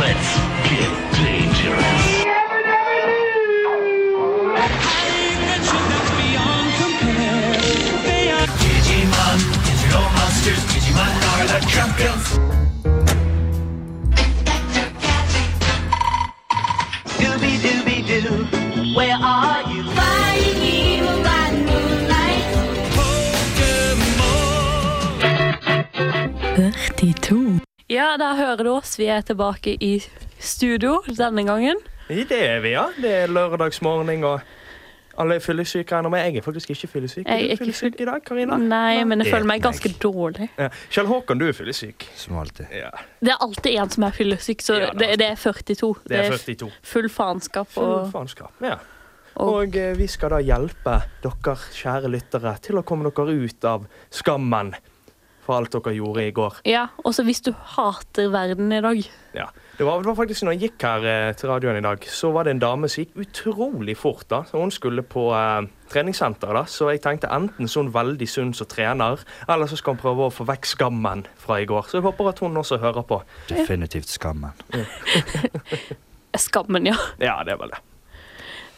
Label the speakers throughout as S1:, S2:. S1: Let's get dangerous. Digimon, digital monsters, Digimon are the champions. Doobie doobie doo, where are you?
S2: Fighting evil by moonlight.
S3: Ja, der hører du oss. Vi er tilbake i studio denne gangen.
S4: Det er vi, ja. Det er lørdagsmorgen, og alle er fyllesyke ennå. Men jeg er faktisk ikke fyllesyk.
S3: Jeg
S4: er
S3: er
S4: du
S3: ikke Mm.
S4: fyllesyk i dag, Karina?
S3: Nei, men jeg føler meg
S4: Det er
S3: ganske dårlig.
S4: Ja. Kjell Håkon, du er fyllesyk.
S5: Som alltid.
S4: Ja,
S3: Det er alltid en som er fyllesyk, så
S4: Ja, det er
S3: det, det er 42.
S4: det er 42.
S3: full faenskap
S4: Full
S3: og
S4: faenskap. Ja.
S3: og-
S4: Og eh, vi skal da hjelpe dere kjære lyttere til å komme dere ut av skammen for alt dere gjorde i går.
S3: Ja, også hvis du hater verden i dag.
S4: Ja. Det var, det var faktisk når jeg gikk her eh, til radioen i dag, så var det en dame som gikk utrolig fort. da. Så hun skulle på eh, treningssenter, da, så jeg tenkte enten så er hun veldig sunn som trener, eller så skal hun prøve å få vekk skammen fra i går. Så jeg håper at hun også hører på.
S5: Definitivt skammen.
S3: Skammen, ja.
S4: Ja, det er vel det.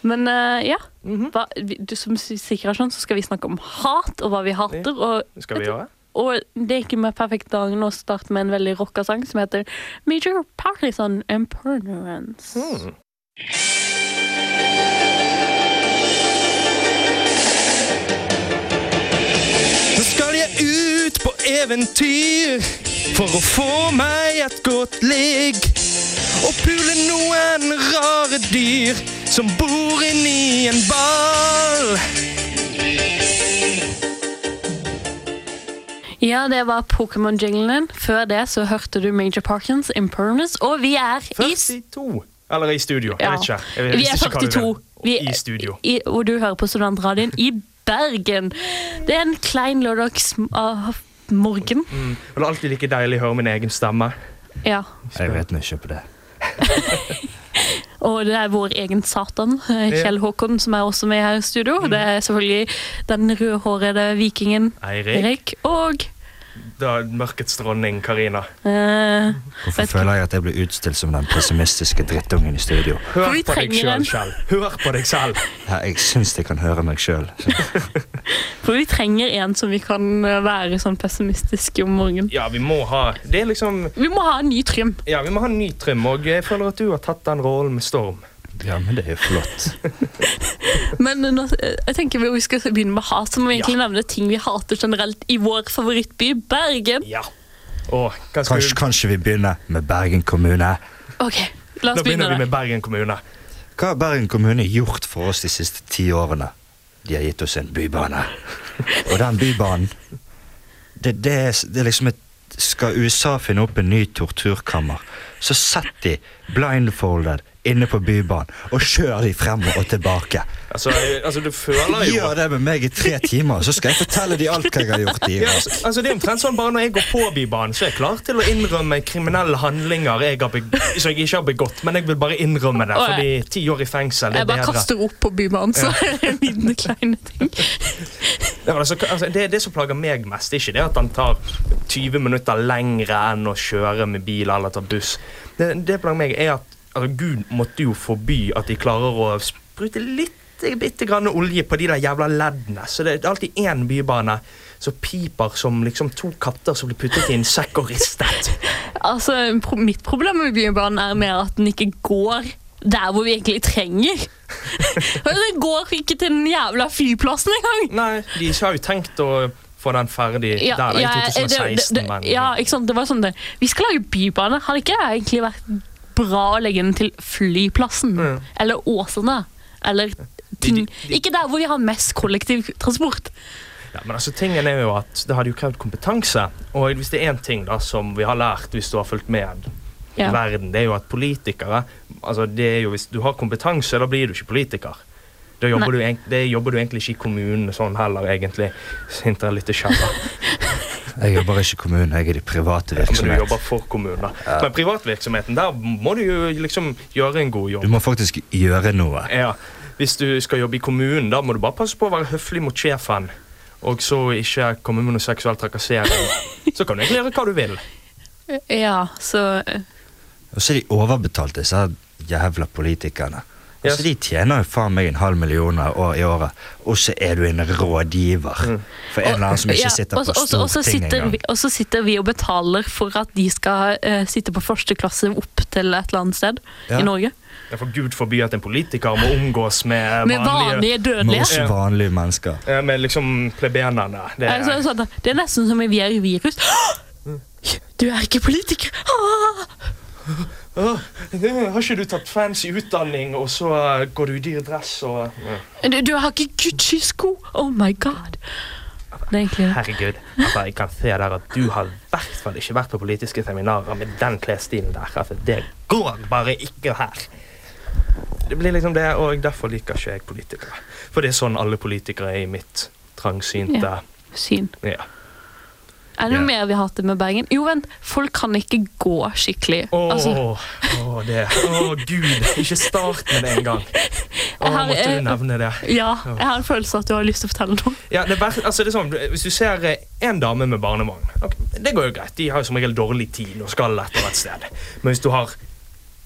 S3: Men eh, ja,
S4: Mhm.
S3: hva, vi- du, som s- sikkert har skjønt, så skal vi snakke om hat og hva vi hater. Og,
S4: Det skal vi gjøre.
S3: og det er ikke med perfekt dagen å starte med en veldig rocka sang som heter Major Partisan Impermanence.
S6: Nå skal jeg ut på eventyr for å få meg et godt ligg. Og pule noen rare dyr som bor inni en ball.
S3: Ja, det var Pokémon-jinglen din. Før det så hørte du Major Parkins, Impermanence, og vi er i s-
S4: 42. Eller i studio. Jeg
S3: Ja.
S4: vet ikke. Jeg
S3: Vi
S4: visste
S3: er
S4: ikke hva du
S3: 42.
S4: mente.
S3: Vi
S4: I studio.
S3: I, og du hører på Studentradioen i Bergen. Det er en klein lørdagsmorgen.
S4: Og det er alltid like deilig å høre min egen stemme.
S3: Ja.
S5: Jeg vet nå ikke på det.
S3: Og det er vår egen Satan, eh, Kjell Håkon, som er også med her i studio.
S4: Mm.
S3: Det er selvfølgelig den rødhårede vikingen
S4: Eirik,
S3: Erik og
S4: da mørkets dronning Karina.
S3: eh,
S5: Hvorfor
S3: Vet-
S5: føler jeg at jeg blir utstilt som den pessimistiske drittungen i studio?
S3: For
S4: Hør
S3: vi
S4: på deg
S3: trenger en.
S4: sjøl, Kjell. Hør på deg selv.
S5: Ja, jeg syns de kan høre meg sjøl.
S3: For vi trenger en som vi kan eh, være sånn pessimistiske om morgenen.
S4: Ja, vi må ha Det er liksom
S3: Vi må ha en ny trym.
S4: Ja, vi må ha en ny trim, og jeg føler at du har tatt den rollen med storm.
S5: Ja, men det er jo flott.
S3: Men eh, nå, jeg tenker vi skal begynne med hat, så må vi egentlig nevne ting vi hater generelt i vår favorittby, Bergen.
S4: Ja. Og hva skal
S5: Kanskje,
S4: du
S5: kanskje vi begynner med Bergen kommune.
S3: Ok, la
S4: Da
S3: oss
S4: begynner
S3: begynne
S4: vi
S3: da.
S4: med Bergen kommune.
S5: Hva har Bergen kommune gjort for oss de siste ti årene? De har gitt oss en bybane. Og den bybanen Det, det, er, det er liksom et Skal USA finne opp en ny torturkammer, så sett de blindfolded inne på bybanen og kjør de frem og tilbake.
S4: Altså, jeg- altså du føler jo
S5: Gjør det med meg i tre timer, så skal jeg fortelle de alt hva jeg har gjort. i
S4: ja, altså, altså Det er omtrent sånn bare når jeg går på Bybanen, så er jeg klar til å innrømme kriminelle handlinger jeg har beg som jeg ikke har begått, men jeg vil bare innrømme det,
S3: Å,
S4: fordi ti år i fengsel det er
S3: Jeg bare
S4: bedre.
S3: kaster opp på bybanen, så er det en liten kleine ting.
S4: Ja, men altså, altså, det er det som plager meg mest, det er ikke det at han tar 20 minutter lengre enn å kjøre med bil eller ta buss. Det, det plager meg er at altså, Gud måtte jo forby at de klarer å sprute litt bitte grann olje på de der jævla leddene. Så det er alltid én bybane som piper som liksom to katter som blir puttet i en sekk og ristet.
S3: Altså, pro mitt problem med bybanen er mer at den ikke går der hvor vi egentlig trenger. Den går ikke til den jævla flyplassen engang.
S4: Nei, de har jo tenkt å få den ferdig
S3: Ja,
S4: der da, i
S3: ja, det-
S4: 2016,
S3: det, det,
S4: men
S3: ja, ikke sant? Det var sånn det. Vi skal lage bybane. Hadde ikke det egentlig vært bra å legge den til flyplassen? Eller Åsane? Eller ting.
S4: de-
S3: Ikke der hvor vi har mest kollektivtransport.
S4: Ja, men altså, tingen er jo at Det hadde jo krevd kompetanse. Og hvis det er én ting da som vi har lært hvis du har fulgt med
S3: Ja.
S4: i verden, det er jo at politikere altså det er jo Hvis du har kompetanse, da blir du ikke politiker. Da jobber du, egent- det jobber du egentlig ikke i kommunen sånn heller, egentlig. Sinter litt sjaller.
S5: Jeg jobber ikke i kommunen, jeg er i de private
S4: Men du jobber
S5: virksomhet.
S4: for kommunen. da. Men privatvirksomheten, der må du jo liksom gjøre en god jobb.
S5: Du må faktisk gjøre noe.
S4: Ja, Hvis du skal jobbe i kommunen, da må du bare passe på å være høflig mot sjefen. Og så ikke komme med noe seksuell trakassering. Så kan du egentlig gjøre hva du vil.
S3: Ja, så eh,
S5: Og så er de overbetalt, disse her jævla politikerne.
S4: Yes.
S5: Altså, De tjener jo faen meg en halv million av år i året, og så er du en rådgiver for en eller annen som
S3: ja,
S5: ikke sitter
S3: Mm. og så-
S5: på
S3: og så- og så
S5: Stortinget
S3: sitter vi-
S5: engang.
S3: Og så sitter vi og betaler for at de skal eh, sitte på første klasse opp til et eller annet sted
S5: Ja.
S3: i Norge.
S4: Ja, for Gud forby at en politiker må omgås med,
S3: Med vanlige
S5: Med
S3: dødelige.
S5: oss vanlige mennesker.
S4: Ja, Med liksom plebenerne. Det
S3: Altså,
S4: er,
S3: sånn, det er nesten som om vi er i virus.
S5: Mm.
S3: Du er ikke politiker! Ah!
S4: Åh, det, har ikke du tatt fancy utdanning, og så eh, går du i dyr dress og ja.
S3: Du, du har ikke Gucci-sko! Oh my god. Det er egentlig det.
S4: Herregud. Altså, jeg kan se der at du har i hvert fall ikke vært på politiske seminarer med den klesstilen der. Altså, det går bare ikke her. Det blir liksom det, og derfor liker ikke jeg politikere. For det er sånn alle politikere er i mitt trangsynte
S3: syn.
S4: ja.
S3: Er det noe
S5: Ja.
S3: mer vi hater med Bergen? Jo, vent. Folk kan ikke gå skikkelig.
S4: Åh,
S3: Altså,
S4: åh, det. Åh, gud. Ikke start med det engang. Åh,
S3: har-
S4: måtte
S3: eh,
S4: du nevne det.
S3: ja, jeg har en følelse av at du har lyst til å fortelle noe.
S4: Ja, det er verst, altså det er sånn, Hvis du ser eh, en dame med barnevogn ok, Det går jo greit, de har jo som regel dårlig tid og skal et eller annet sted. Men hvis du har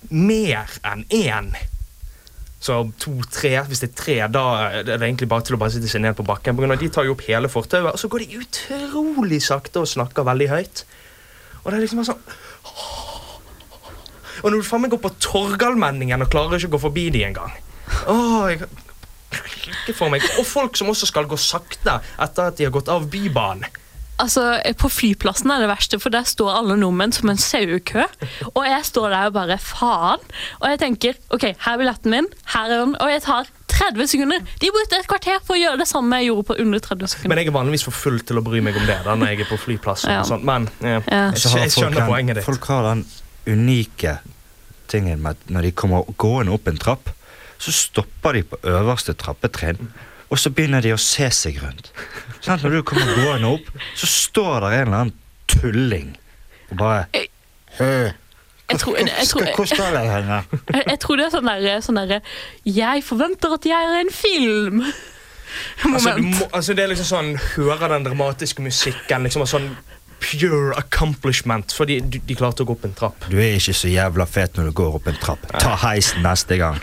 S4: mer enn én, så to-tre Hvis det er tre, da er det egentlig bare til å bare sitte seg ned på bakken. På grunn av at de tar jo opp hele fortauet, og så går de utrolig sakte og snakker veldig høyt. Og det er liksom bare sånn Og når du faen meg går på Torgallmenningen og klarer ikke å gå forbi de engang Åh, jeg ikke for meg. Og folk som også skal gå sakte etter at de har gått av Bybanen.
S3: Altså, eh, På flyplassen er det verste, for der står alle nordmenn som en sauekø. Og jeg står der og bare faen. Og jeg tenker ok, her er billetten min, her er den, og jeg tar 30 sekunder. De brukte et kvarter på å gjøre det samme jeg gjorde på under 30 sekunder.
S4: Men jeg er vanligvis for full til å bry meg om det. da, når jeg er på flyplassen.
S3: Ja.
S4: og sånt. Men eh,
S3: Ja.
S4: jeg,
S5: Så har
S4: jeg
S5: folk,
S4: skjønner
S5: den,
S4: poenget ditt.
S5: folk har den unike tingen med at når de kommer gående opp en trapp, så stopper de på øverste trappetrinn, og så begynner de å se seg rundt. Sånn at når du kommer gående opp, så står der en eller annen tulling og bare
S3: Jeg- Jeg tror, jeg, jeg, tror,
S5: Skal- Hvor
S3: jeg,
S5: står jeg henne?
S3: jeg tror det er sånn derre sånn der, Jeg forventer at jeg er en film.
S4: Altså, du
S3: Moment.
S4: må, altså, det er liksom sånn Hører den dramatiske musikken. liksom og sånn Pure accomplishment. Fordi de, de klarte å gå opp en trapp.
S5: Du er ikke så jævla fet når du går opp en trapp. Ta heisen neste gang.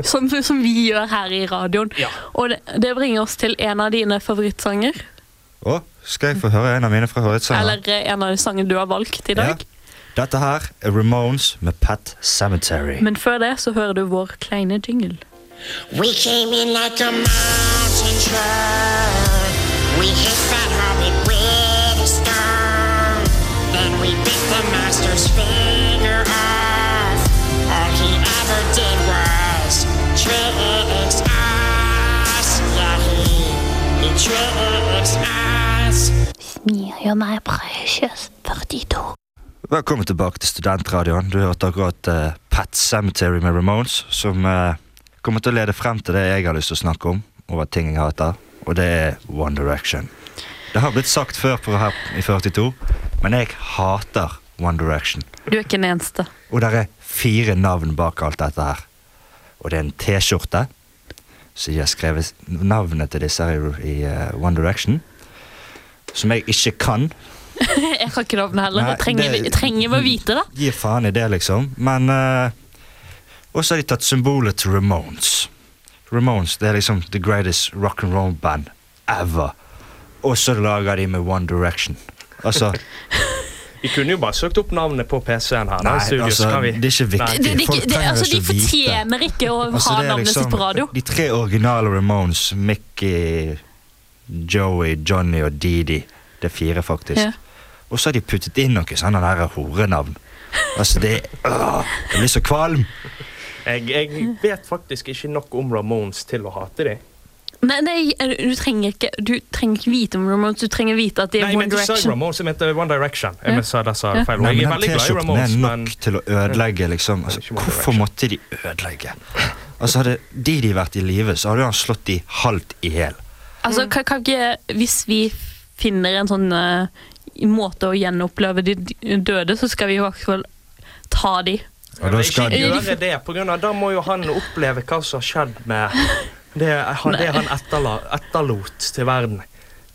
S3: Som, som vi gjør her i radioen.
S4: Ja.
S3: Og det, det bringer oss til en av dine favorittsanger.
S5: Å, skal jeg få høre en av mine fra Høyhetssalen?
S3: Eller eh, en av de sangene du har valgt i
S5: Ja.
S3: dag.
S5: Dette her er Ramones med Pet Cemetery.
S3: Men før det så hører du vår kleine jingle.
S7: We came in like a mountain truck. We hit that hobbit with a stone. Then we bit the master's finger off. All he ever did was tricks us. Yeah, he, he tricks us.
S5: Velkommen tilbake til Studentradioen. Du hørte akkurat eh, Pet Cemetery med Ramones, som eh, kommer til å lede frem til det jeg har lyst til å snakke om, over ting jeg hater, og det er One Direction. Det har blitt sagt før på her i 42, men jeg hater One Direction.
S3: Du er ikke den eneste.
S5: Og det er fire navn bak alt dette her. Og det er en T-skjorte, så de har skrevet navnet til disse her i, i eh, One Direction, som jeg ikke kan,
S3: Jeg kan ikke navnet heller.
S5: Nei,
S3: Jeg trenger,
S5: det-
S3: jeg trenger å vite det.
S5: Gi faen i det, liksom. Men eh, også har de tatt symbolet til Ramones. Ramones det er liksom the greatest rock and roll band ever. Og så lager de med One Direction. Altså,
S4: Vi kunne jo bare søkt opp navnet på PC-en her. da,
S5: Nei,
S4: i studio, så
S5: altså,
S4: kan vi-
S5: det er ikke viktig.
S4: Nei.
S3: Det, det,
S5: Folk
S3: det,
S5: trenger
S3: altså, de
S5: ikke vite.
S3: fortjener ikke å
S5: altså
S3: ha
S5: det er
S3: navnet sitt på radio.
S5: de tre originale Ramones, Mickey, Joey, Johnny og Didi. Det er fire, faktisk.
S3: Ja.
S5: Og så har de puttet inn noe sånn der horenavn. Altså, det øh, Jeg blir så kvalm.
S4: Jeg, jeg vet faktisk ikke nok om Ramones til å hate dem.
S3: Nei, nei, eh, du trenger ikke, du trenger ikke vite om Ramones, du trenger vite at det er
S4: Nei, jeg
S3: One
S4: mente ikke
S3: Direction.
S4: Ramones, jeg mente One Direction.
S3: Ja.
S4: Jeg mente sa disse
S3: Ja.
S4: feil.
S5: Nei,
S4: Jeg
S5: men
S4: er
S5: den
S4: veldig glad i
S5: T-skjorten er
S4: Ramones, men
S5: nok til å ødelegge, liksom. Altså,
S4: ikke One
S5: hvorfor
S4: Direction.
S5: måtte de ødelegge? Altså, Hadde de de vært i live, så hadde han slått de halvt i hjel.
S3: Altså, kan, kan ikke, hvis vi finner en sånn eh, måte å gjenoppleve de d- døde, så skal vi i hvert fall ta de.
S5: Og da skal
S4: ikke
S5: de
S4: gjøre det, på grunn av da må jo han oppleve hva som har skjedd med det han, det han etterla, etterlot til verden.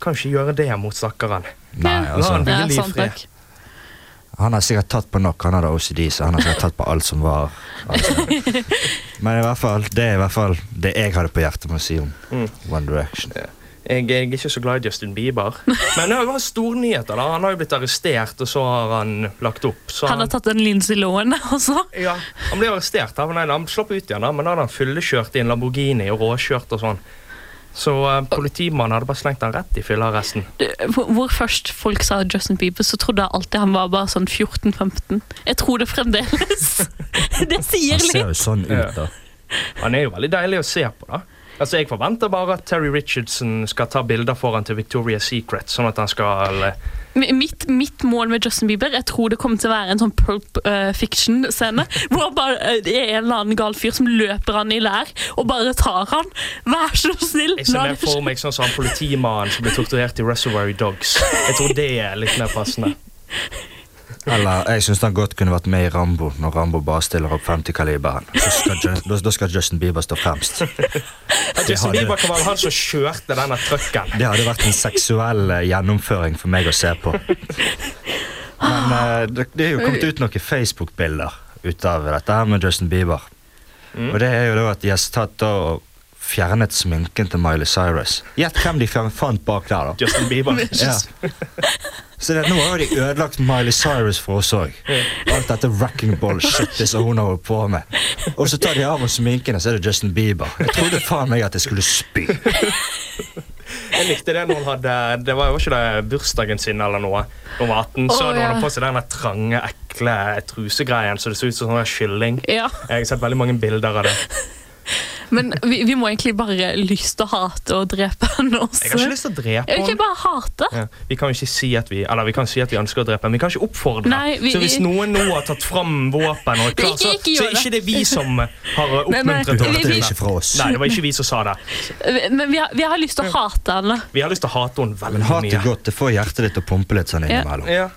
S4: Kan ikke gjøre det mot stakkaren.
S5: Nei, altså.
S4: Hvile
S3: Ja,
S4: i
S3: sant
S4: fred.
S3: nok.
S5: Han har sikkert tatt på nok. Han hadde OCD, så han har sikkert tatt på alt som var. Altså. Men i hvert fall, det er i hvert fall det jeg hadde på hjertet med å si om
S4: Mm.
S5: One Direction.
S4: Jeg, jeg er ikke så glad i Justin Bieber. Men det var stornyheter. da. Han har jo blitt arrestert, og så har han lagt opp. Så
S3: Han har tatt en altså. Lindsay Lohan også.
S4: ja, han ble arrestert, han, nei, han slapp ut igjen, da, men da hadde han fyllekjørt i en Lamborghini og råkjørt og sånn. Så eh, politimannen hadde bare slengt han rett i fyllearresten.
S3: Du, hvor- Hvor først folk sa Justin Bieber, så trodde jeg alltid han var bare sånn 14-15. Jeg tror det fremdeles. Det sier
S5: Han
S3: litt.
S5: ser jo sånn ut, da.
S4: Han er jo veldig deilig å se på, da. Altså, Jeg forventer bare at Terry Richardson skal ta bilder foran til Victoria's Secret. sånn at han skal... eh,
S3: M- Mitt, mitt mål med Justin Bieber Jeg tror det kommer til å være en sånn Pulp eh, Fiction-scene. Hvor bare, eh, det er en eller annen gal fyr som løper han i lær og bare tar han. Vær så snill!
S4: Jeg ser
S3: la
S4: mer
S3: det
S4: for
S3: skje.
S4: meg sånn som han politimannen som ble torturert i Reservoir Dogs. Jeg tror det er litt mer passende.
S5: Eller jeg syns han godt kunne vært med i Rambo, når Rambo bare stiller opp 50-kaliberen. Så skal Ju- Da da skal Justin Bieber stå fremst.
S4: At Justin
S5: hadde-
S4: Bieber kan være han som kjørte denne trucken.
S5: Det hadde vært en seksuell eh, gjennomføring for meg å se på. Men eh, det, det er jo kommet ut noen Facebook-bilder ut av dette her med Justin Bieber. Og det er jo da at de har tatt da og fjernet sminken til Miley Cyrus. Gjett hvem de fjern- fant bak der, da.
S4: Justin Bieber.
S5: Ja. Så det, nå har jo de ødelagt Miley Cyrus for oss òg. Alt dette wrecking ball-shitet som hun har holdt på med. Og så tar de av oss sminken, og så er det Justin Bieber. Jeg trodde faen meg at jeg skulle spy.
S4: Jeg likte det når hun hadde Det var jo ikke det bursdagen sin eller noe. Når hun var 18, så
S3: Å,
S4: hadde hun
S3: ja.
S4: hadde på seg den der trange, ekle trusegreien så det så ut som sånn kylling.
S3: Ja,
S4: Jeg har sett veldig mange bilder av det.
S3: men vi, vi må egentlig bare lyst til å hate og drepe han også.
S4: Jeg har ikke lyst til å drepe
S3: Jeg kan
S4: henne.
S3: bare hate.
S4: Ja. Vi kan jo ikke si at vi Eller vi kan si at vi ønsker å drepe, men vi kan ikke oppfordre.
S3: Nei, vi-
S4: så hvis
S3: vi-
S4: noen nå har tatt fram våpen, og er klar,
S3: Ikke-
S4: så,
S3: ikke gjør
S4: så er ikke det vi som har eh,
S3: Nei, nei,
S4: oppmuntret
S3: vi-
S4: henne
S5: Dette
S4: til
S5: er
S3: vi-
S5: ikke
S4: det.
S5: fra oss.
S4: Nei, det var ikke vi som sa det.
S3: Men vi har, vi har lyst til å hate han. da.
S4: Vi har lyst til å hate henne veldig
S5: Men hat
S4: mye.
S5: er godt. Det får hjertet ditt til å pumpe litt sånn
S3: Ja.
S5: innimellom.
S4: Ja,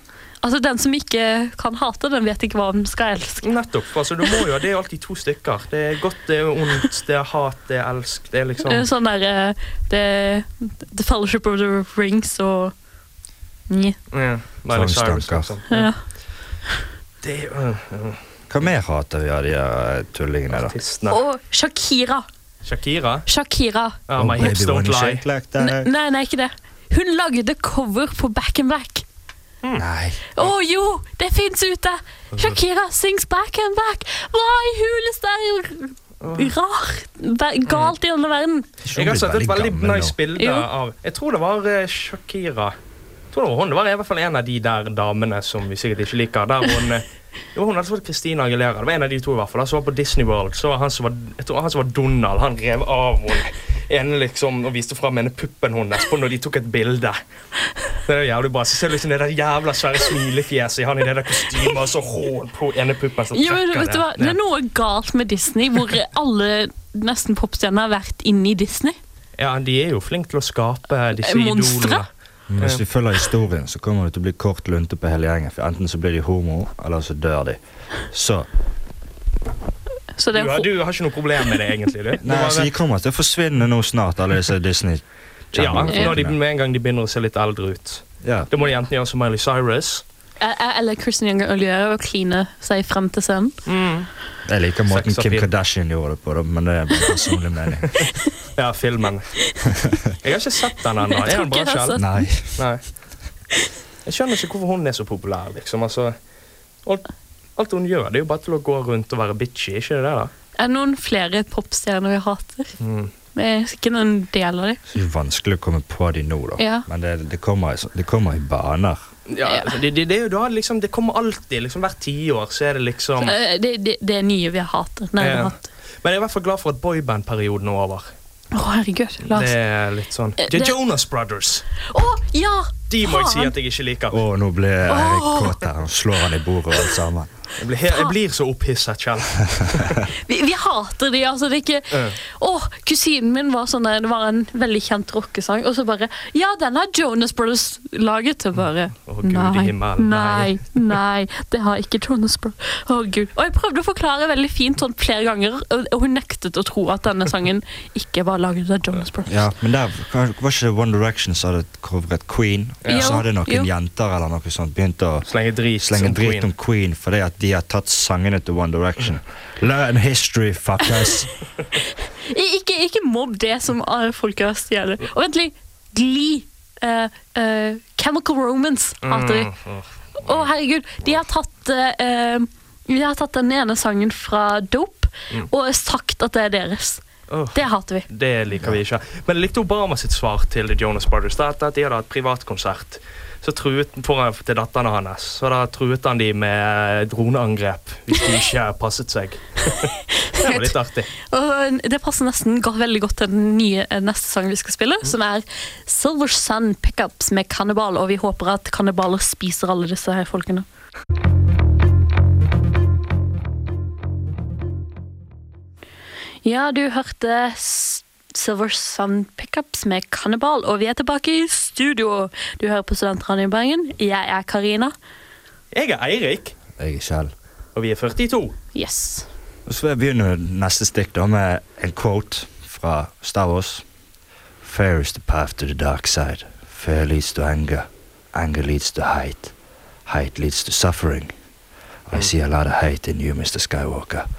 S3: Altså, Den som ikke kan hate, den vet ikke hva den skal elske.
S4: nettopp. Altså, du må jo, det er jo alltid to stykker. Det er godt, det er ondt, det er hat, det er elsk. Det er liksom
S3: Eh, Sånn der eh, The, the Fellowship of the Rings og Nje.
S4: ja, Miley Cyrus,
S5: Tvangstanker.
S4: liksom.
S3: Ja.
S4: Det er øh, jo ja,
S5: Hva mer hater vi av de her eh, tullingene, da?
S4: artistene.
S3: Og Shakira.
S4: Shakira.
S3: Shakira.
S4: Ja, my hips
S5: wanna
S4: don't lie.
S5: shake like
S3: Ne-
S5: that.
S3: Nei, nei, ikke det. Hun lagde cover på Back in Black.
S5: Nei.
S3: Å jo, det fins ute! Shakira sings Back in Black. Hva i huleste er rart? Ver- Galt i denne verden.
S4: Jeg har sett et veldig nice
S5: bilde.
S4: bilde
S3: Jo.
S4: av Jeg tror det var eh, Shakira. Jeg tror det var hun. Det var i hvert fall en av de der damene som vi sikkert ikke liker. Der hun eh, jo, hun hadde fått Christina Aguilera. Det var en av de to i hvert fall. Han som var på Disney World. Så var han som var, jeg tror han som var Donald, han rev av henne ene liksom, og viste fram ene puppen hennes på når de tok et bilde. Det er jo jævlig bra. Så ser du liksom det der jævla svære smilefjeset i han i det der kostymet, og så hån på ene puppen som
S3: Jo, men
S4: trekker
S3: vet du hva? Det er noe galt med Disney, hvor alle nesten popstjerner har vært inne i Disney.
S4: Ja, de er jo flinke til å skape disse
S3: Monstre?
S4: idolene.
S5: Hvis du følger historien, så kommer det til å bli kort lunte på hele gjengen. For enten så blir de homo, eller så dør de. Så,
S3: Så det
S4: Du, har-
S3: er
S4: du har ikke noe problem med det, egentlig? Du.
S5: nei,
S4: du
S5: så
S4: bare,
S5: de kommer til å forsvinne nå snart, alle disse disney
S4: ja, når de,
S5: channelene.
S4: Med en gang de begynner å se litt eldre ut.
S5: Ja.
S4: Da må de enten gjøre som Miley Cyrus.
S3: Eller Christian Younger Oliera og kline seg frem til scenen.
S5: Jeg liker måten
S4: Sex
S5: Kim
S4: appeal.
S5: Kardashian gjorde det på, da, men det er min personlige mening.
S4: Ja, filmen. Jeg har ikke sett den ennå.
S3: Jeg
S4: Er
S3: tror
S4: den bra
S3: ikke jeg har
S4: selv?
S3: sett
S5: Nei.
S4: Nei. Jeg skjønner ikke hvorfor hun er så populær, liksom. Altså, alt, alt hun gjør, det er jo bare til å gå rundt og være bitchy, ikke det da?
S3: Er det noen flere popstjerner vi hater? Jeg er sikkert en del av dem.
S5: Så vanskelig å komme på de nå, da.
S3: Ja.
S5: Men det, det, kommer, i så- det kommer i baner.
S4: Ja, altså, det, det, det er jo da liksom, det kommer alltid, liksom hvert tiår så er det liksom
S3: Eh, Det, det, det er nye vi hater. Nei, vi
S4: Ja.
S3: hater.
S4: Men jeg er i hvert fall glad for at boyband-perioden er over.
S3: Å, herregud. Lars.
S4: Det er litt sånn
S3: Eh,
S4: The
S3: det-
S4: Jonas Brothers.
S3: Å, ja!
S4: De må jeg si
S3: faen.
S4: at jeg ikke liker.
S5: Å, nå ble jeg kåt her. Han slår han i bordet og alt sammen.
S4: Jeg blir, he- jeg blir så opphisset selv.
S3: Vi, vi hater de, altså. Det er ikke
S4: Ja.
S3: Å, kusinen min var sånn der, det var en veldig kjent rockesang, og så bare Ja, den har Jonas Brothers laget. Og bare
S4: Å, Gud i
S3: Nei,
S4: himmelen,
S3: nei, nei. Det har ikke Jonas Brothers. Å, Gud. Og jeg prøvde å forklare veldig fint sånn flere ganger, og og hun nektet å tro at denne sangen ikke var laget av Jonas Brothers.
S5: Ja, men der var ikke det One Direction som hadde covret Queen?
S3: Ja.
S5: Og så hadde
S3: Jo.
S5: noen jenter eller noe sånt begynt å
S4: Slenge drit
S5: slenge
S4: som
S5: drit om
S4: Queen.
S5: Queen fordi at de har tatt sangene til One Direction. Learn history, fuckers!
S3: I- Ikke, ikke mobb det som eh, er folkerøst gjelder. Og vent litt. Gli. eh, eh, chemical Romance hater de.
S4: Mm,
S3: Å, herregud. De har tatt eh, eh, De har tatt den ene sangen fra Dope og sagt at det er deres.
S4: Mm. Åh.
S3: Det hater vi.
S4: Det liker vi ikke. Men jeg likte Obama sitt svar til The Jonas Brothers. Det er at de hadde hatt privatkonsert. Så truet foran til datterne hans. Så da truet han de med eh, droneangrep hvis de ikke passet seg. Det var litt artig.
S3: Og det passer nesten godt, veldig godt til den nye eh, neste sangen vi skal spille, som er Silver Sun Pickups med Kannibal, og vi håper at kannibaler spiser alle disse her folkene. Ja, du hørte S- Silver Sun Pickups med Kannibal, og vi er tilbake i studio. Du hører på Studentradioen i Bergen. Jeg er Karina.
S4: Jeg er Eirik,
S5: Jeg er Kjell.
S4: og vi er 42.
S3: Yes.
S5: Og så begynner neste stikk da med en quote fra Star Wars. Fair is the path to the dark side. Fair leads to anger. Anger leads to hate. Hate leads to suffering. I see a lot of hate in you, Mr. Skywalker.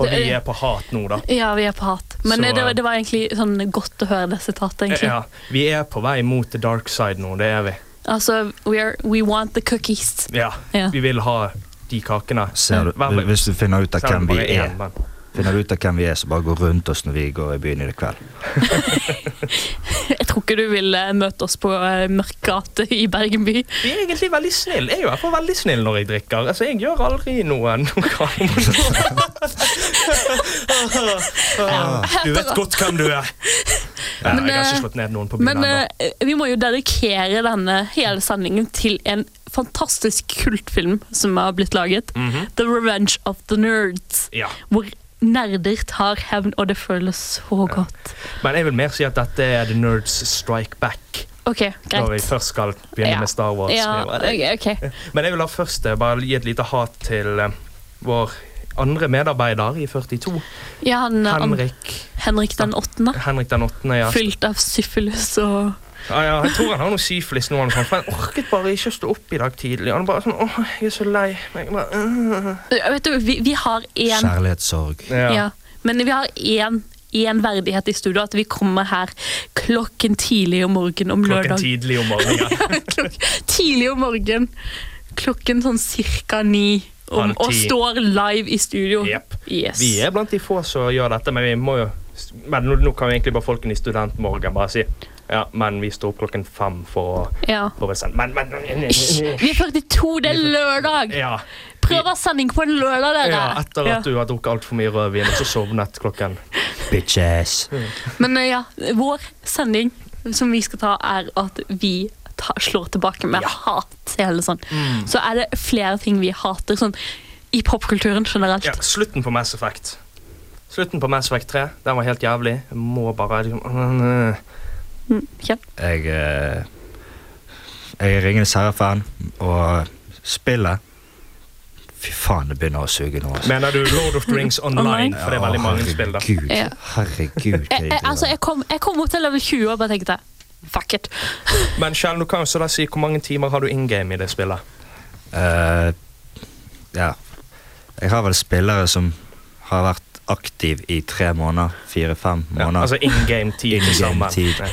S4: Og vi er på hat nå, da.
S3: Ja, vi er på hat. Men
S4: Så,
S3: eh, det, var-
S4: eh,
S3: det var egentlig sånn godt å høre det sitatet, egentlig.
S4: Ja, vi er på vei mot the dark side nå, det er vi.
S3: Altså, we, are, we want the cookies.
S4: Ja,
S3: Ja.
S4: Vi vil ha de kakene.
S5: Ser du,
S4: Hver-
S5: hvis du finner ut av
S4: selv om
S5: hvem
S4: det
S5: vi
S4: bare
S5: er,
S4: en, men-
S5: finner du ut av hvem vi er, så bare gå rundt oss når vi går i byen i kveld.
S3: Jeg tror ikke du vil eh, møte oss på eh, mørk gate i Bergen by.
S4: Vi er egentlig veldig snill. Jeg er i hvert fall veldig snill når jeg drikker. Altså, Jeg gjør aldri noe noe galt. Du vet godt hvem du er. Nei,
S3: Men,
S4: jeg har
S3: eh,
S4: ikke slått ned noen på byen
S3: Men
S4: ennå.
S3: eh, vi må jo dedikere denne hele sendingen til en fantastisk kultfilm som har blitt laget. The Revenge of the Nerds.
S4: Mhm. Ja.
S3: Hvor nerder tar hevn, og det føles så godt.
S4: Men jeg vil mer si at dette er The Nerds Strike Back.
S3: OK,
S4: Når vi
S3: greit.
S4: først skal begynne
S3: Ja.
S4: med Star Wars.
S3: Ja,
S4: Vi bare-
S3: ok, ok.
S4: Men jeg vil ha først eh, bare gi et lite hat til eh, vår andre medarbeider i 42.
S3: Ja, han, eh,
S4: Henrik
S3: Henrik den åttende.
S4: Henrik den åttende. Ja.
S3: Fylt av syfilis og
S4: Ja, ja, jeg tror han har noe syfilis nå, eller noe sånt, for han orket bare ikke å stå opp i dag tidlig. Han bare sånn, åh, jeg er så lei. meg», bare, «Øh».
S3: Ja, Eh, Vet du, vi, vi har én
S5: Kjærlighetssorg.
S3: ja. Men vi har én én verdighet i studio, at vi kommer her klokken tidlig om morgenen om
S4: Klokken
S3: lørdag.
S4: tidlig om morgenen.
S3: Klok tidlig om morgenen. Klokken sånn cirka ni. Om,
S4: Halv
S3: og
S4: ti.
S3: står live i studio.
S4: Jepp.
S3: Yes.
S4: Vi er blant de få som gjør dette, men vi må jo Men nå, nå kan jo egentlig bare folkene i Studentmorgen bare si ja, men vi står opp klokken fem for å
S3: Ja.
S4: for å sende Men, men, men
S3: Vi er 42, det er lørdag!
S4: Ja.
S3: Prøv å ha sending på en lørdag, dere!
S4: ja. Etter
S3: Ja.
S4: at du har drukket altfor mye rødvin og så sovnet klokken
S5: Bitches.
S3: Men eh, ja, vår sending som vi skal ta, er at vi ta, slår tilbake med hat. Eller sånn.
S4: Mm.
S3: Så er det flere ting vi hater, sånn i popkulturen generelt.
S4: Ja, slutten på Mass Effect. Slutten på Mass Effect 3, den var helt jævlig. Jeg må bare liksom øh, øh.
S3: Kjell?
S5: Jeg, eh, jeg er Ringenes herre-fan, og spillet Fy faen, det begynner å suge nå. altså.
S4: Mener du Lord of the Rings Online?
S3: Online?
S4: For det er veldig mange
S5: Å,
S4: spill, da.
S5: Herregud,
S3: Ja.
S5: herregud.
S3: Jeg, jeg, altså, jeg kom, jeg kom opp til level 20 og bare tenkte fuck it.
S4: Men Kjell, du kan jo så da si hvor mange timer har du in game i det spillet?
S5: Eh, ja. Jeg har vel spillere som har vært aktiv i tre måneder, fire-fem
S4: Ja,
S5: måneder.
S4: altså in game-tid til sammen.
S5: In-game-tid.
S4: Ja.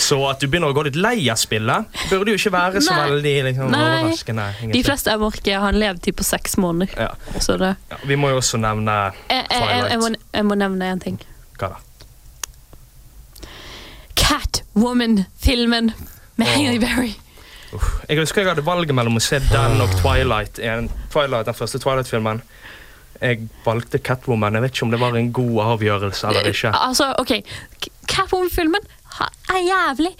S4: Så at du begynner å gå litt lei av spillet, burde jo ikke være så
S3: Nei.
S4: veldig liksom,
S3: Nei.
S4: overraskende. egentlig.
S3: De fleste jeg orker, har en levetid på seks måneder.
S4: Ja.
S3: Så det,
S4: Ja, vi må jo også nevne
S3: jeg, Eh, jeg, jeg, jeg, må,
S4: Twilight.
S3: jeg må nevne én ting.
S4: Hva da?
S3: Catwoman-filmen med Hailey Berry.
S4: Jeg husker jeg hadde valget mellom å se den og Twilight. En, Twilight den første Twilight-filmen. jeg valgte Catwoman. Jeg vet ikke om det var en god avgjørelse eller ikke.
S3: Altså, ok, K- Catwoman-filmen ha- er jævlig.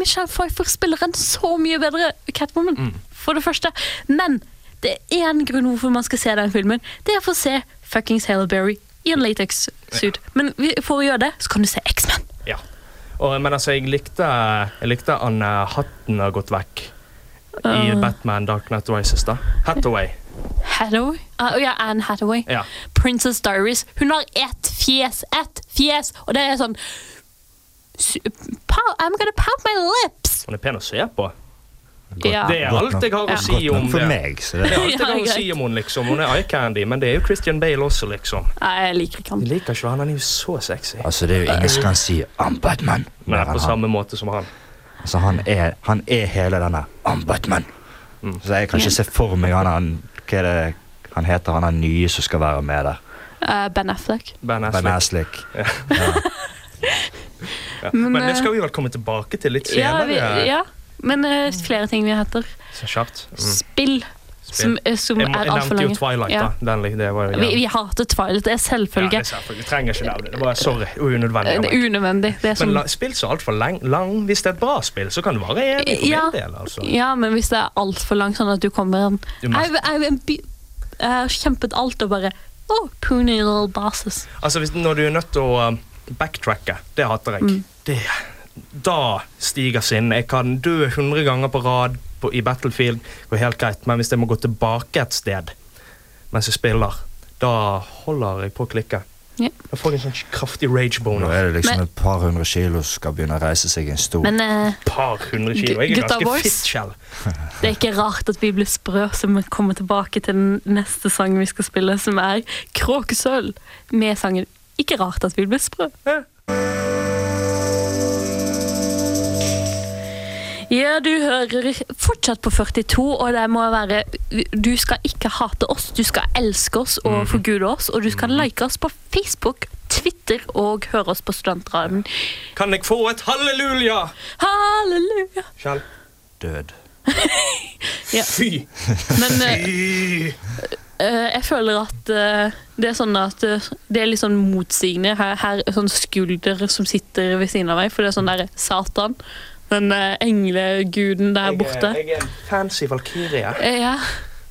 S3: Michelle Pfeiffer spiller en så mye bedre Catwoman,
S4: Mm.
S3: for det første. Men det er én grunn hvorfor man skal se den filmen. Det er for å se fuckings Halle Berry i en latex-suit. Men vi- for å gjøre det, så kan du se X-Men.
S4: Ja. Og, men altså, jeg likte, jeg likte han eh, hatten har gått vekk
S3: Ah.
S4: i Batman Dark Night Rises. da. Hathaway.
S3: Hathaway? Ah, ja, Anne Hathaway.
S4: Ja.
S3: Princess Diaries. Hun har ett fjes, ett fjes, og det er sånn su- pow- I'm gonna pout my lips!
S4: Hun er pen å se på.
S3: Ja.
S4: Det er
S5: Godt
S4: alt
S5: nok.
S4: jeg har å si
S5: Godt nok
S4: om
S5: for
S4: det.
S5: meg, så det
S4: Det er alt jeg har
S3: Ja,
S4: å si
S3: greit.
S4: om henne, liksom. Hun er eye candy, men det er jo Christian Bale også, liksom.
S3: Nei, jeg liker ikke
S4: Jeg
S3: han.
S4: liker ikke han, han er jo så sexy.
S5: Altså, det er jo ingen som kan si 'I'm Batman'.
S4: Eh, Nei,
S5: mer enn
S4: på
S5: han.
S4: samme måte som han.
S5: Altså, han er, han er hele denne 'I'm Batman'.
S4: Mm.
S5: Så jeg kan ikke se for meg han, han Hva er det han heter, han er nye som skal være med der?
S3: Eh, ben Affleck.
S4: Ben
S5: Ben
S4: Affleck.
S5: Aslick.
S4: Ja. Men
S3: eh,
S4: det skal vi vel komme tilbake til litt
S3: Ja,
S4: senere.
S3: vi, ja. Men eh, flere ting vi heter.
S4: Så kjapt. Mm.
S3: Spill, som, eh, som
S4: Jeg, må-
S3: er
S4: jeg
S3: altfor
S4: nevnte jo
S3: lange.
S4: Twilight,
S3: Ja.
S4: da. Den, lik- det var jo
S3: Vi, vi hater Twilight, det er
S4: Ja,
S3: selvfølge.
S4: det sa jeg faktisk. Du trenger ikke nevne det. Det var sorry. Unødvendig.
S3: Eh,
S4: av
S3: det
S4: meg.
S3: er unødvendig. Det er
S4: Men
S3: som,
S4: la, spill så altfor lang, lang. Hvis det er et bra spill, så kan det vare evig for
S3: Ja.
S4: min del. altså.
S3: ja, men hvis det er altfor langt, sånn at du kommer en
S4: Du mest-
S3: Jeg jeg- jeg by- jeg har kjempet alt og bare Oh, puny little bosses.
S4: Altså, hvis, Når du er nødt til å um, backtracke, det hater
S3: Mm.
S4: jeg. Det, da stiger sinnet. Jeg kan dø 100 ganger på rad på, i Battlefield, går helt greit, men hvis jeg må gå tilbake et sted mens jeg spiller, da holder jeg på å klikke.
S3: Ja.
S4: Da får jeg en sånn kraftig rage
S5: Nå
S4: boner.
S5: er det liksom
S3: Men-
S5: et par hundre kilo som skal begynne å reise seg i en stol.
S3: Men eh,
S4: Par hundre kilo. Jeg er
S3: Gutta
S4: ganske
S3: boys.
S4: fittskjell.
S3: det er ikke rart at vi blir sprø som kommer tilbake til den neste sangen vi skal spille, som er Kråkesølv, med sangen Ikke rart at vi blir sprø.
S4: Ja.
S3: Ja, du hører fortsatt på 42, og det må være Du skal ikke hate oss, du skal elske oss og forgude oss, og du skal like oss på Facebook, Twitter og høre oss på Studentradioen.
S4: Kan jeg få et halleluja?
S3: Halleluja!
S4: Kjell.
S5: Død.
S4: Fy!
S3: Men eh,
S4: Fy.
S3: eh, jeg føler at eh, det er sånn at eh, det er litt sånn motsigende. Her, her er sånn skulder som sitter ved siden av meg, for det er sånn der Satan, den eh, engleguden der
S4: Jeg er-
S3: borte.
S4: Jeg Mm. er en fancy valkyrie.
S3: Eh, Ja.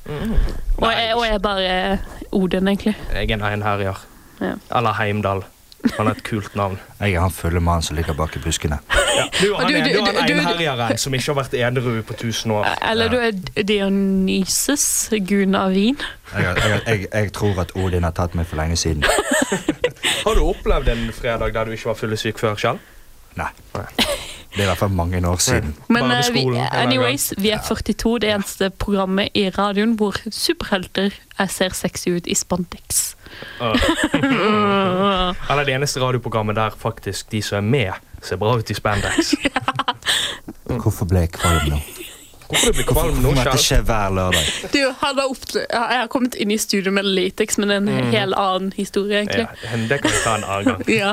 S3: Og jeg, og jeg er bare eh, Odin, egentlig.
S4: Jeg er en einherjer.
S3: Ja.
S4: Eller Heimdall. Han har et kult navn.
S5: Jeg er han fulle mannen som ligger bak i buskene.
S4: Du, han
S3: Og du-
S4: er, du,
S3: du-
S4: er
S3: du- du-
S4: en einherjeren som ikke har vært edru på tusen år.
S3: Eller du er Dionysus, guden av vin.
S5: Jeg, jeg, jeg, jeg tror at Odin har tatt meg for lenge siden.
S4: Har du opplevd en fredag der du ikke var fyllesyk før, Kjell?
S5: Nei.
S4: Nei.
S5: Det er i hvert fall mange år siden.
S3: Men
S4: Bare på
S3: eh, vi,
S4: skolen, en eller annen
S3: anyways, vi er 42, det eneste programmet i radioen hvor superhelter eh, ser sexy ut i spandex.
S4: Eller det eneste radioprogrammet der faktisk de som er med, ser bra ut i spandex.
S5: Hvorfor ble jeg kvalm nå?
S4: Hvorfor du blir Mm. kvalm nå,
S5: Hvorfor måtte det
S4: Kjell?
S5: skje hver lørdag?
S3: Du, han har opp, jeg har kommet inn i studio med latex, men det er en helt annen historie,
S4: Mhm. Ja,
S3: egentlig.
S4: det kan vi ta en annen gang.
S3: Ja.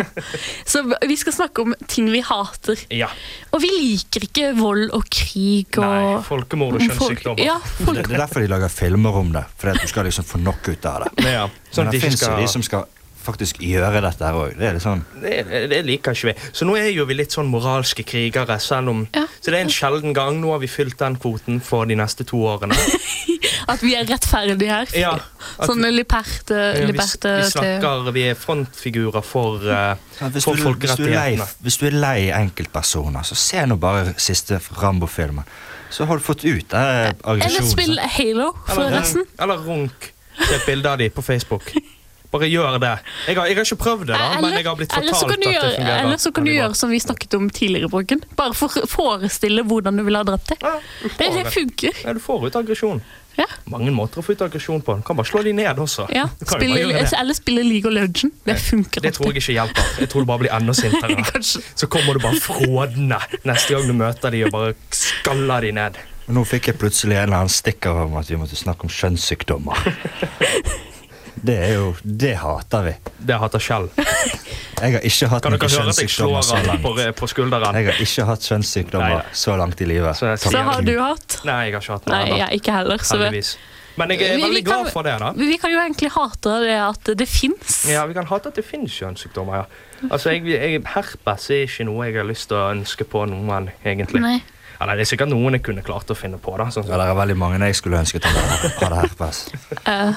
S3: Så vi skal snakke om ting vi hater.
S4: Ja.
S3: Og vi liker ikke vold og krig og
S4: Nei, folkemord og
S3: folk-
S4: kjønnssykdommer.
S3: Ja, folk,
S5: Det det er derfor de lager filmer om det. Fordi at du skal liksom få nok ut av det.
S4: Ja, sånn
S5: Men
S4: at de
S5: det
S4: ikke
S5: fins jo
S4: skal-
S5: de som skal faktisk gjøre dette her òg. Det er litt sånn
S4: Det, det liker ikke vi. Så nå er jo vi litt sånn moralske krigere, selv om
S3: Ja.
S4: Så det er en sjelden gang. Nå har vi fylt den kvoten for de neste to årene.
S3: at vi er rettferdige her. Sånn
S4: Ja, at
S3: Sånne liberte,
S4: Eh, vi, vi
S3: liberte eh, til
S4: snakker Vi er frontfigurer for, eh,
S5: hvis,
S4: for
S5: du, hvis, du er lei,
S4: folkerettighetene.
S5: hvis du er lei enkeltpersoner, så se nå bare siste Rambo-filmen. Så har du fått ut eh,
S3: Eller spill
S5: aggresjonen.
S3: Halo, forresten.
S4: eller runk. Se et bilde av de på Facebook. Bare gjør det. Jeg har, jeg har ikke prøvd det, da, men jeg har blitt
S3: Eh, eller så
S4: fortalt
S3: kan
S4: at
S3: du
S4: det
S3: gjøre,
S4: fungerer.
S3: eller så kan du
S4: veldig bra.
S3: gjøre som vi snakket om tidligere, Brokken. Bare for, forestille hvordan du ville ha drept det.
S4: Ja, du
S3: Det,
S4: får
S3: det funker.
S4: Ja, du får ut aggresjon.
S3: Ja.
S4: Mange måter å få ut aggresjon på. Du kan bare slå de ned også.
S3: Ja.
S4: Du kan jo
S3: Spille,
S4: bare gjøre det.
S3: eller spille League of Legends. Det funker
S4: det tror jeg ikke hjelper. Jeg tror du bare blir enda sintere.
S3: Kanskje.
S4: Så kommer du bare frådende neste gang du møter de og bare skaller de ned.
S5: Nå fikk jeg plutselig en eller annen stikker om at vi måtte snakke om kjønnssykdommer. Det er jo Det hater vi.
S4: Det hater Kjell.
S5: Jeg har ikke hatt
S4: Kan dere
S5: noen
S4: høre at jeg
S5: kjønnssykdommer
S4: slår
S5: så
S4: han
S5: langt.
S4: på, på skulderen?
S5: Jeg har ikke hatt kjønnssykdommer
S4: Neida.
S5: så langt i livet.
S4: Så jeg
S3: Så
S4: sier-
S3: har du hatt?
S4: Nei, jeg har ikke hatt noe
S3: Nei,
S4: ennå.
S3: jeg ikke heller. Så vet-
S4: Heldigvis. Men jeg er
S3: Vi- vi
S4: veldig
S3: kan-
S4: glad for det, da.
S3: Vi, vi kan jo egentlig hate det at det fins.
S4: Ja, Vi kan hate at det finnes kjønnssykdommer. ja. Altså, jeg, jeg, Herpes er ikke noe jeg har lyst til å ønske på noen. egentlig.
S3: Nei.
S4: Ja, nei, det er sikkert noen jeg kunne klart å finne på. da. Sånn,
S5: Ja, det er veldig mange jeg skulle ønsket hadde hadde herpes.
S3: Eh,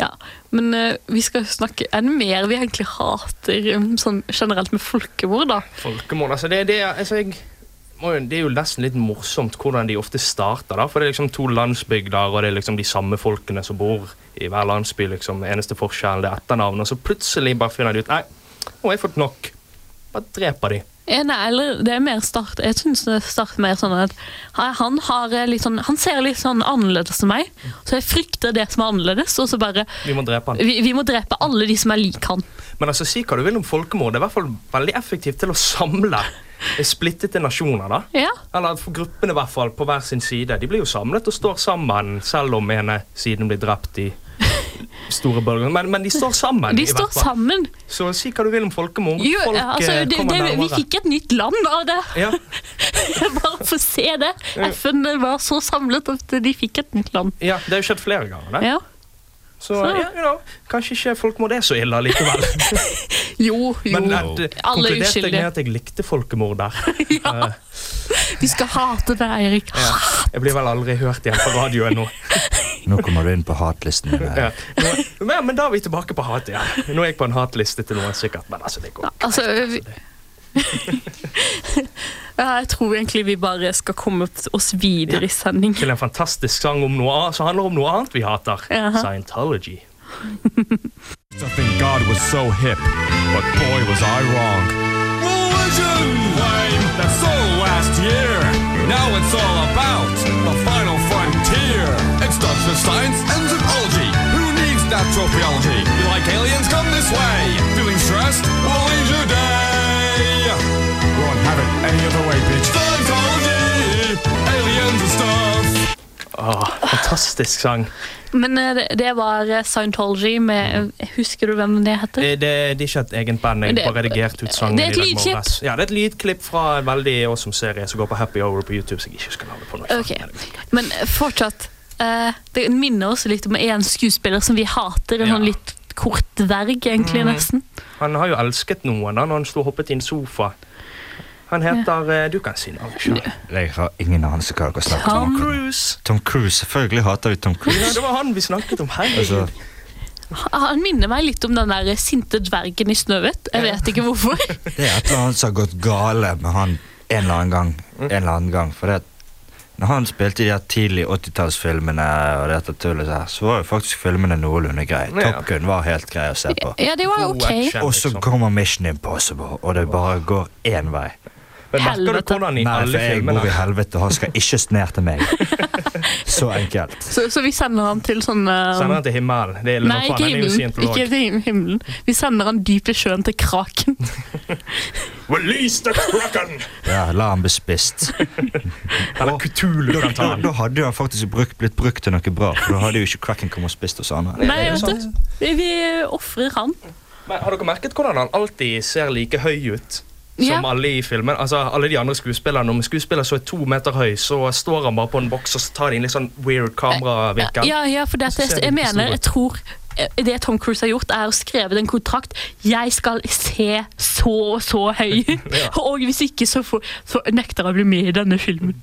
S3: ja. Men eh, vi skal jo snakke enn mer vi egentlig hater um, sånn generelt med folkemord, da.
S4: Folkemord. Altså, det, det, er- altså, jeg, må jo- det er jo nesten litt morsomt hvordan de ofte starter. da, For det er liksom to landsbygder, og det er liksom de samme folkene som bor i hver landsby. liksom, Eneste forskjellen det er etternavn. Og så plutselig bare finner de ut Nei, nå har jeg fått nok. Bare dreper de.
S3: Eh, Nei, eller det er mer start Jeg synes det starter mer sånn at han- han, har eh, litt sånn, han ser litt sånn annerledes enn meg, så jeg frykter det som er annerledes, og så bare
S4: Vi må drepe han.
S3: Vi, vi må drepe alle de som er lik han.
S4: Men altså, si hva du vil om folkemord. Det er i hvert fall veldig effektivt til å samle splittede nasjoner. da.
S3: Ja.
S4: Eller at for gruppene i hvert fall på hver sin side. De blir jo samlet og står sammen, selv om ene siden blir drept i store bølger. Men, men de står sammen. i
S3: De
S4: hvert
S3: står
S4: fall.
S3: sammen.
S4: Så si hva du vil om folkemord.
S3: Jo,
S4: Folk
S3: ja, altså,
S4: eh,
S3: det,
S4: kommer
S3: det, vi
S4: nærmere.
S3: fikk et nytt land av det.
S4: Ja.
S3: Jeg bare får se det. FN var så samlet at de fikk et nytt land.
S4: ja, det har jo skjedd flere ganger. Det.
S3: Ja.
S4: Så ja, you know, kanskje ikke folkemord er så ille likevel.
S3: Jo, jo.
S4: Men at, eh,
S3: Alle
S4: konkluderte
S3: er
S4: jeg med
S3: uskyldige.
S4: at jeg likte folkemord der. Eh,
S3: Vi skal hate det, Eirik.
S4: ja. Jeg blir vel aldri hørt igjen på radioen nå.
S5: Nå kommer du inn på hatlisten min.
S4: Ja.
S5: her.
S4: Nå- Men, men da er vi tilbake på hat igjen. Nå er jeg på en hatliste til noen sikkert, men altså, det går.
S3: Altså vi... ja, Jeg tror egentlig vi bare skal komme oss videre i sending.
S4: til en fantastisk sang om noe annet, som handler om noe annet vi hater.
S3: Jaha.
S4: Scientology.
S8: I think God was so hip, but boy was I wrong. Religion lame, that's so last year. Now it's all about the final frontier. It starts with science and zoology. Who needs natural theology? You like aliens? Come this way. Feeling stressed? We'll leave your day. Won't have it any other way, bitch. Scientology, aliens and stuff.
S4: Åh, fantastisk sang.
S3: Men eh, det, det var eh, Scientology med eh, Husker du hvem det heter?
S4: Det, det, Eh, det er ikke et egen band. Jeg
S3: Men det-
S4: har bare redigert ut sangen.
S3: det er et
S4: i dag
S3: lydklipp.
S4: morges. Ja, det er et lydklipp fra en veldig awesome serie som går på Happy Hour på YouTube. så jeg ikke husker navnet på noe.
S3: Ok, Men fortsatt eh, Det minner oss litt om en skuespiller som vi hater.
S4: Ja.
S3: En
S4: Mm.
S3: sånn litt kort dverg, egentlig, nesten.
S4: Han har jo elsket noen da når han sto og hoppet i en sofa. Han heter eh, Du kan si navnet sjøl.
S5: Jeg har ingen anelse hva dere snakker om.
S4: Tom Cruise.
S5: Tom Cruise, selvfølgelig hater vi Tom
S4: Ja,
S5: Cruise.
S4: det var han vi snakket om. Herregud.
S5: Altså,
S3: Han han minner meg litt om den der sinte dvergen i Snøhvit. Jeg vet ikke hvorfor.
S5: det er et eller annet som har gått gale med han en eller annen gang. En eller annen gang for det, at når han spilte de her tidlig 80-tallsfilmene, og dette tullet her, så var jo faktisk filmene noenlunde greie.
S4: Ja.
S5: Top Gun var helt grei å se på.
S3: Ja, det var
S4: God
S3: ok.
S4: action,
S5: Og så
S4: liksom.
S5: kommer Mission Impossible, og det bare går én vei.
S4: Men merker du
S3: Helvete.
S4: hvordan i
S5: Nei, for
S4: alle
S5: jeg bor i
S4: filmene
S5: helvete, og han skal ikke snert til meg. Så enkelt.
S3: Så, så vi sender han til sånn eh,
S4: Sender han til himmelen. Det er,
S3: Nei,
S4: faen, han er
S3: ikke
S4: jo
S3: himmelen.
S4: scientolog.
S3: Ikke til himmelen. Vi sender han dypt i sjøen, til kraken.
S4: Release the Kraken!
S5: Ja, la han bli spist.
S4: Eller Kutulu
S5: Da,
S4: kan ta
S5: da,
S4: den.
S5: da hadde jo han faktisk brukt, blitt brukt til noe bra, for da hadde jo ikke Cracken kommet og spist hos andre.
S3: Nei,
S4: det er jo
S3: vet du. Vi vi ofrer han.
S4: Men har dere merket hvordan han alltid ser like høy ut? Som
S3: Ja.
S4: alle i filmen. Altså, alle de andre skuespillerne. Om en skuespiller så er to meter høy, så står han bare på en boks og så tar de en litt sånn weird kameravinkel.
S3: Ja, ja, for
S4: Så
S3: dette,
S4: ser
S3: jeg,
S4: det ikke så
S3: mener,
S4: bra ut.
S3: jeg tror eh, det Tom Cruise har gjort, er å skrevet en kontrakt. Jeg skal se så og så høy ut, og hvis ikke, så, får, så nekter jeg å bli med i denne filmen.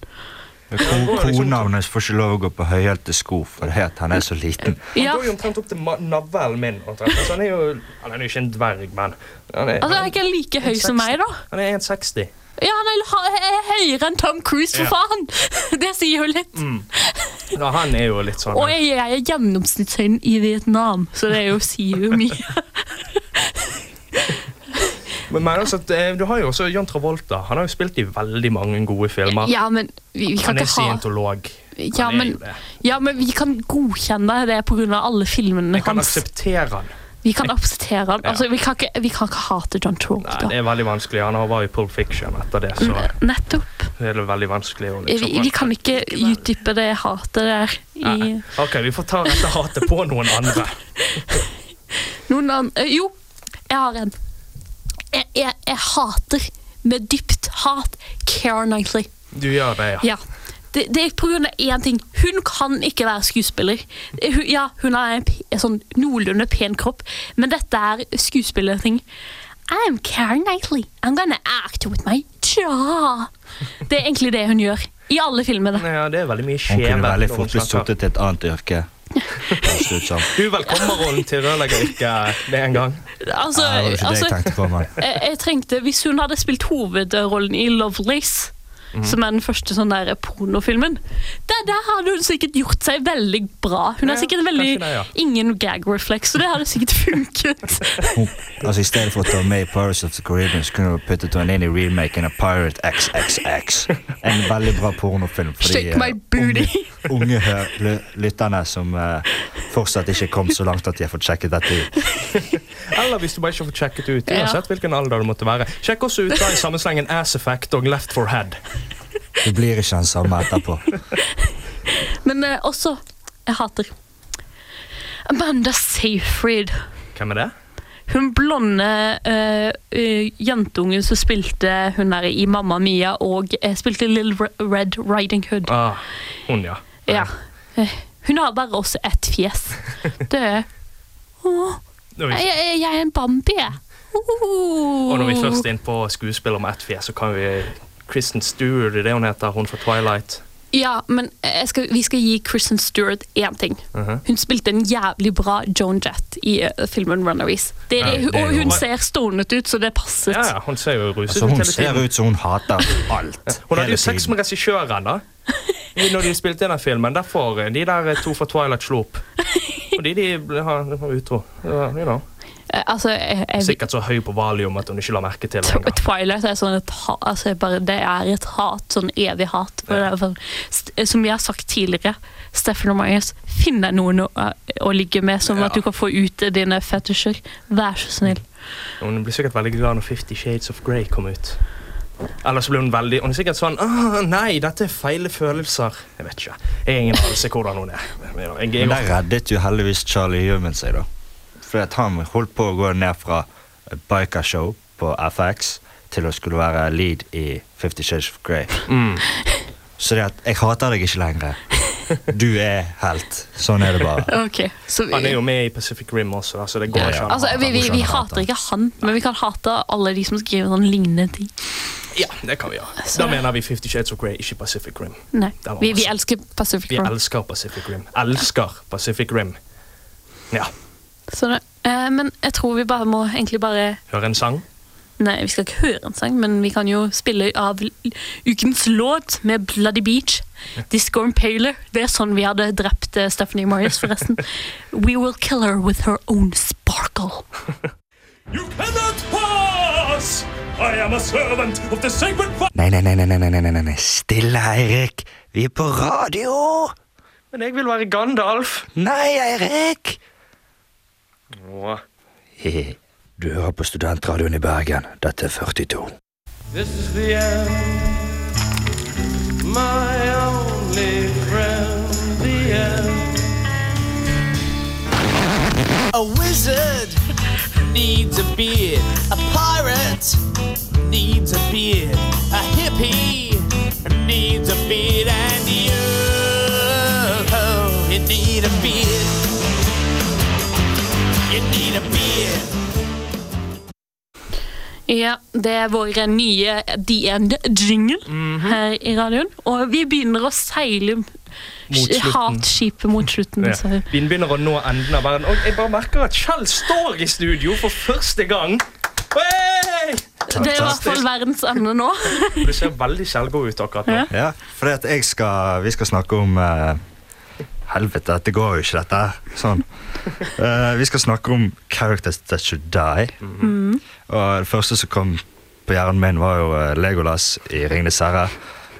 S5: Ko- Kona hennes får ikke lov å gå på høyhælte sko fordi at han er så liten.
S4: Han
S3: Ja,
S4: går jo omtrent opp til ma- navlen min. omtrent. Altså, han er jo han er jo ikke en dverg, men han er,
S3: altså, Er ikke han like høy som meg, da?
S4: han er 1,60.
S3: Ja, Han er ha- er høyere enn Tom Cruise, for
S4: Ja. Mm.
S3: faen! Det sier jo litt.
S4: Ja, han er jo litt sånn
S3: Og jeg, jeg er gjennomsnittshøyden i Vietnam, så det er jo, sier jo mye.
S4: Men, men altså, at, eh, du har jo også John Travolta. Han har jo spilt i veldig mange gode filmer.
S3: Ja, men vi, vi kan
S4: han er
S3: ikke ha
S4: scientolog.
S3: ja
S4: han er
S3: men,
S4: jo det.
S3: ja, men vi kan godkjenne det pga. alle filmene
S4: Jeg kan
S3: hans.
S4: akseptere han.
S3: Vi kan akseptere han. Altså, vi, kan ikke, vi kan ikke hate John
S4: Nei,
S3: Travolta.
S4: det er veldig vanskelig. Han har vært i Pulp Fiction etter det, så
S3: eh, Nettopp.
S4: det er det veldig vanskelig å
S3: Mm. Vi,
S4: liksom
S3: vi kan ikke utdype det hatet der i
S4: Nei. Ok, vi får ta dette hatet på noen andre.
S3: noen andre Jo, jeg har en. Jeg, jeg, jeg hater med dypt hat Keira Knightley.
S4: Du gjør det, ja.
S3: Ja. Det, det er på grunn av én ting. Hun kan ikke være skuespiller. Eh, Hun, ja, hun har en, p- en sånn noenlunde pen kropp, men dette er skuespillerting. I'm Karen Knightley. I'm gonna act with my jaw. Det er egentlig det hun gjør. I alle filmene.
S4: Ja, det er veldig mye
S5: Hun
S4: skjeve.
S5: kunne veldig
S4: når hun
S5: fort blitt
S4: snakker.
S5: sortet til et annet yrke. Høres det ut som.
S4: Du velkommer rollen til rørleggeryrket med en gang.
S3: Altså,
S5: Ja, det var ikke det
S3: altså,
S5: jeg tenkte på, men.
S3: jeg, jeg trengte, Hvis hun hadde spilt hovedrollen i Lovelace,
S4: Mhm.
S3: som er den første sånn der pornofilmen, der, der hadde hun sikkert gjort seg veldig bra. Hun
S4: Ja,
S3: har sikkert veldig
S4: kanskje det, ja.
S3: ingen gag reflex, så det hadde sikkert funket.
S5: Hun- Altså, I stedet for å ta henne med i Pirates of the Caribbean, så kunne hun puttet henne inn i remaken av Pirate XXX. En veldig bra pornofilm for de
S3: Shake my
S5: eh,
S3: booty.
S5: unge hø- ly- lytterne som eh, fortsatt ikke kom så langt at de har fått sjekket dette ut.
S4: Eller hvis du bare ikke får sjekket ut.
S3: Ja.
S4: Uansett hvilken alder du måtte være. Sjekk også ut da i samme slengen Ass Effect og Left for Head.
S5: Det blir ikke den samme etterpå.
S3: Men eh, også Jeg hater Amanda Seyfried.
S4: Hvem er det?
S3: Hun blonde eh, eh, jentungen som spilte hun der i Mamma Mia og eh, spilte Little Re- Red Riding Hood.
S4: Ah, hun, ja.
S3: Ja. Eh, Hun har bare også ett fjes. Det er Åh,
S4: Når
S3: jeg,
S4: vi,
S3: jeg, jeg er en Bambi, jeg.
S4: og når vi først er inne på skuespiller med ett fjes, så kan vi Kristen Stewart, det er det hun heter, hun fra Twilight.
S3: Ja, men jeg skal, vi skal gi Kristen Stewart én ting.
S4: Uh-huh.
S3: Hun spilte en jævlig bra Joan Jett i eh, filmen 'Runaways'. Det,
S5: Ja, det er
S3: og hun
S5: jo-
S3: ser stonet ut, så det passet.
S4: Ja, ja, hun ser jo ruset
S5: Altså,
S4: ut
S5: hun
S4: hele tiden.
S5: ser ut som hun hater alt.
S4: Hun hadde
S5: hele
S4: jo sex
S5: tiden.
S4: med regissøren, da. I- Når de spilte inn den filmen. Derfor eh, de der eh, to fra Twilight slo opp. Fordi de ble- har har utro. Ja, You know.
S3: Eh, altså, jeg, jeg,
S4: Sikkert så høy på valium at hun ikke la merke til det.
S3: Tw-
S4: engang.
S3: Twilight er sånn et hat, altså jeg bare, det er et hat, sånn evig hat. For det er sånn, st- som jeg har sagt tidligere, Stefan og Marius, finn deg noen å, å ligge med, sånn at du kan få ut dine fetisjer. Vær så snill.
S4: Hun blir sikkert veldig glad når Fifty Shades of Grey kom ut. Eller så ble hun veldig Hun er sikkert sånn Åh, nei, dette er feile følelser. Jeg vet ikke. Jeg har ingen anelse hvordan hun er. Jeg, jeg,
S5: Men
S4: jeg,
S5: der reddet jo heldigvis Charlie Human seg, da. For at han holdt på å gå ned fra et bikershow på FX til å skulle være lead i Fifty Shades of Grey.
S4: Mm.
S5: Så det at jeg hater deg ikke lenger. Du er helt. Sånn er det bare.
S3: Ok, så
S4: han er
S3: vi...
S4: jo med i Pacific Rim også, da, så det går
S5: Ja, ja.
S4: ikke an. å
S3: Altså,
S4: hate
S3: vi,
S4: han.
S3: vi, vi
S5: Morsan hater.
S3: hater ikke han, men vi kan hate alle de som skriver sånn lignende ting.
S4: Ja, det kan vi gjøre.
S5: Altså-
S4: Da mener vi Fifty Shades of Grey, ikke Pacific Rim.
S3: Nei,
S4: Det var
S3: vi, vi
S4: masse.
S3: elsker Pacific
S4: Vi
S3: Rim.
S4: elsker Pacific Rim. Elsker Pacific Rim. Ja.
S3: Så det, eh, men jeg tror vi bare må egentlig bare...
S4: Hør en sang.
S3: Nei, vi skal ikke høre en sang, men vi kan jo spille av l- ukens låt med Bloody Beach. Disco Impaler. Det er sånn vi hadde drept eh, Stephanie Marius, forresten. We will kill her with her own sparkle.
S6: You cannot pass! I am a servant of the sacred
S5: Nei, nei, nei, nei, nei, nei, nei, nei, nei. Stille, Eirik. Vi er på radio.
S4: Men jeg vil være Gandalf.
S5: Nei, Eirik.
S4: Åh.
S5: Hehe. Du hører på Studentradioen i Bergen. Dette er 42.
S6: This is the end, my only friend, the end.
S9: A wizard needs a beard. A pirate needs a beard. A hippie needs a beard. And you, oh, you need a beard. You need a beard.
S3: Ja, det er vår nye The End-jingle
S4: Mhm.
S3: her i radioen. Og vi begynner å seile
S4: slutten.
S3: hatskipet mot slutten.
S4: Ja.
S3: Så.
S4: Vi begynner å nå enden av verden. Og jeg bare merker at Kjell står i studio for første gang. Hey!
S3: Det er i hvert fall verdens ende nå.
S4: Du ser veldig selvgod ut akkurat nå.
S3: Ja.
S5: Ja, for at jeg skal, vi skal snakke om eh, Helvete, dette går jo ikke, dette her. Sånn. Eh, vi skal snakke om characters that should die. Og det første som kom på hjernen min, var jo eh, Legolas i Ringenes herre.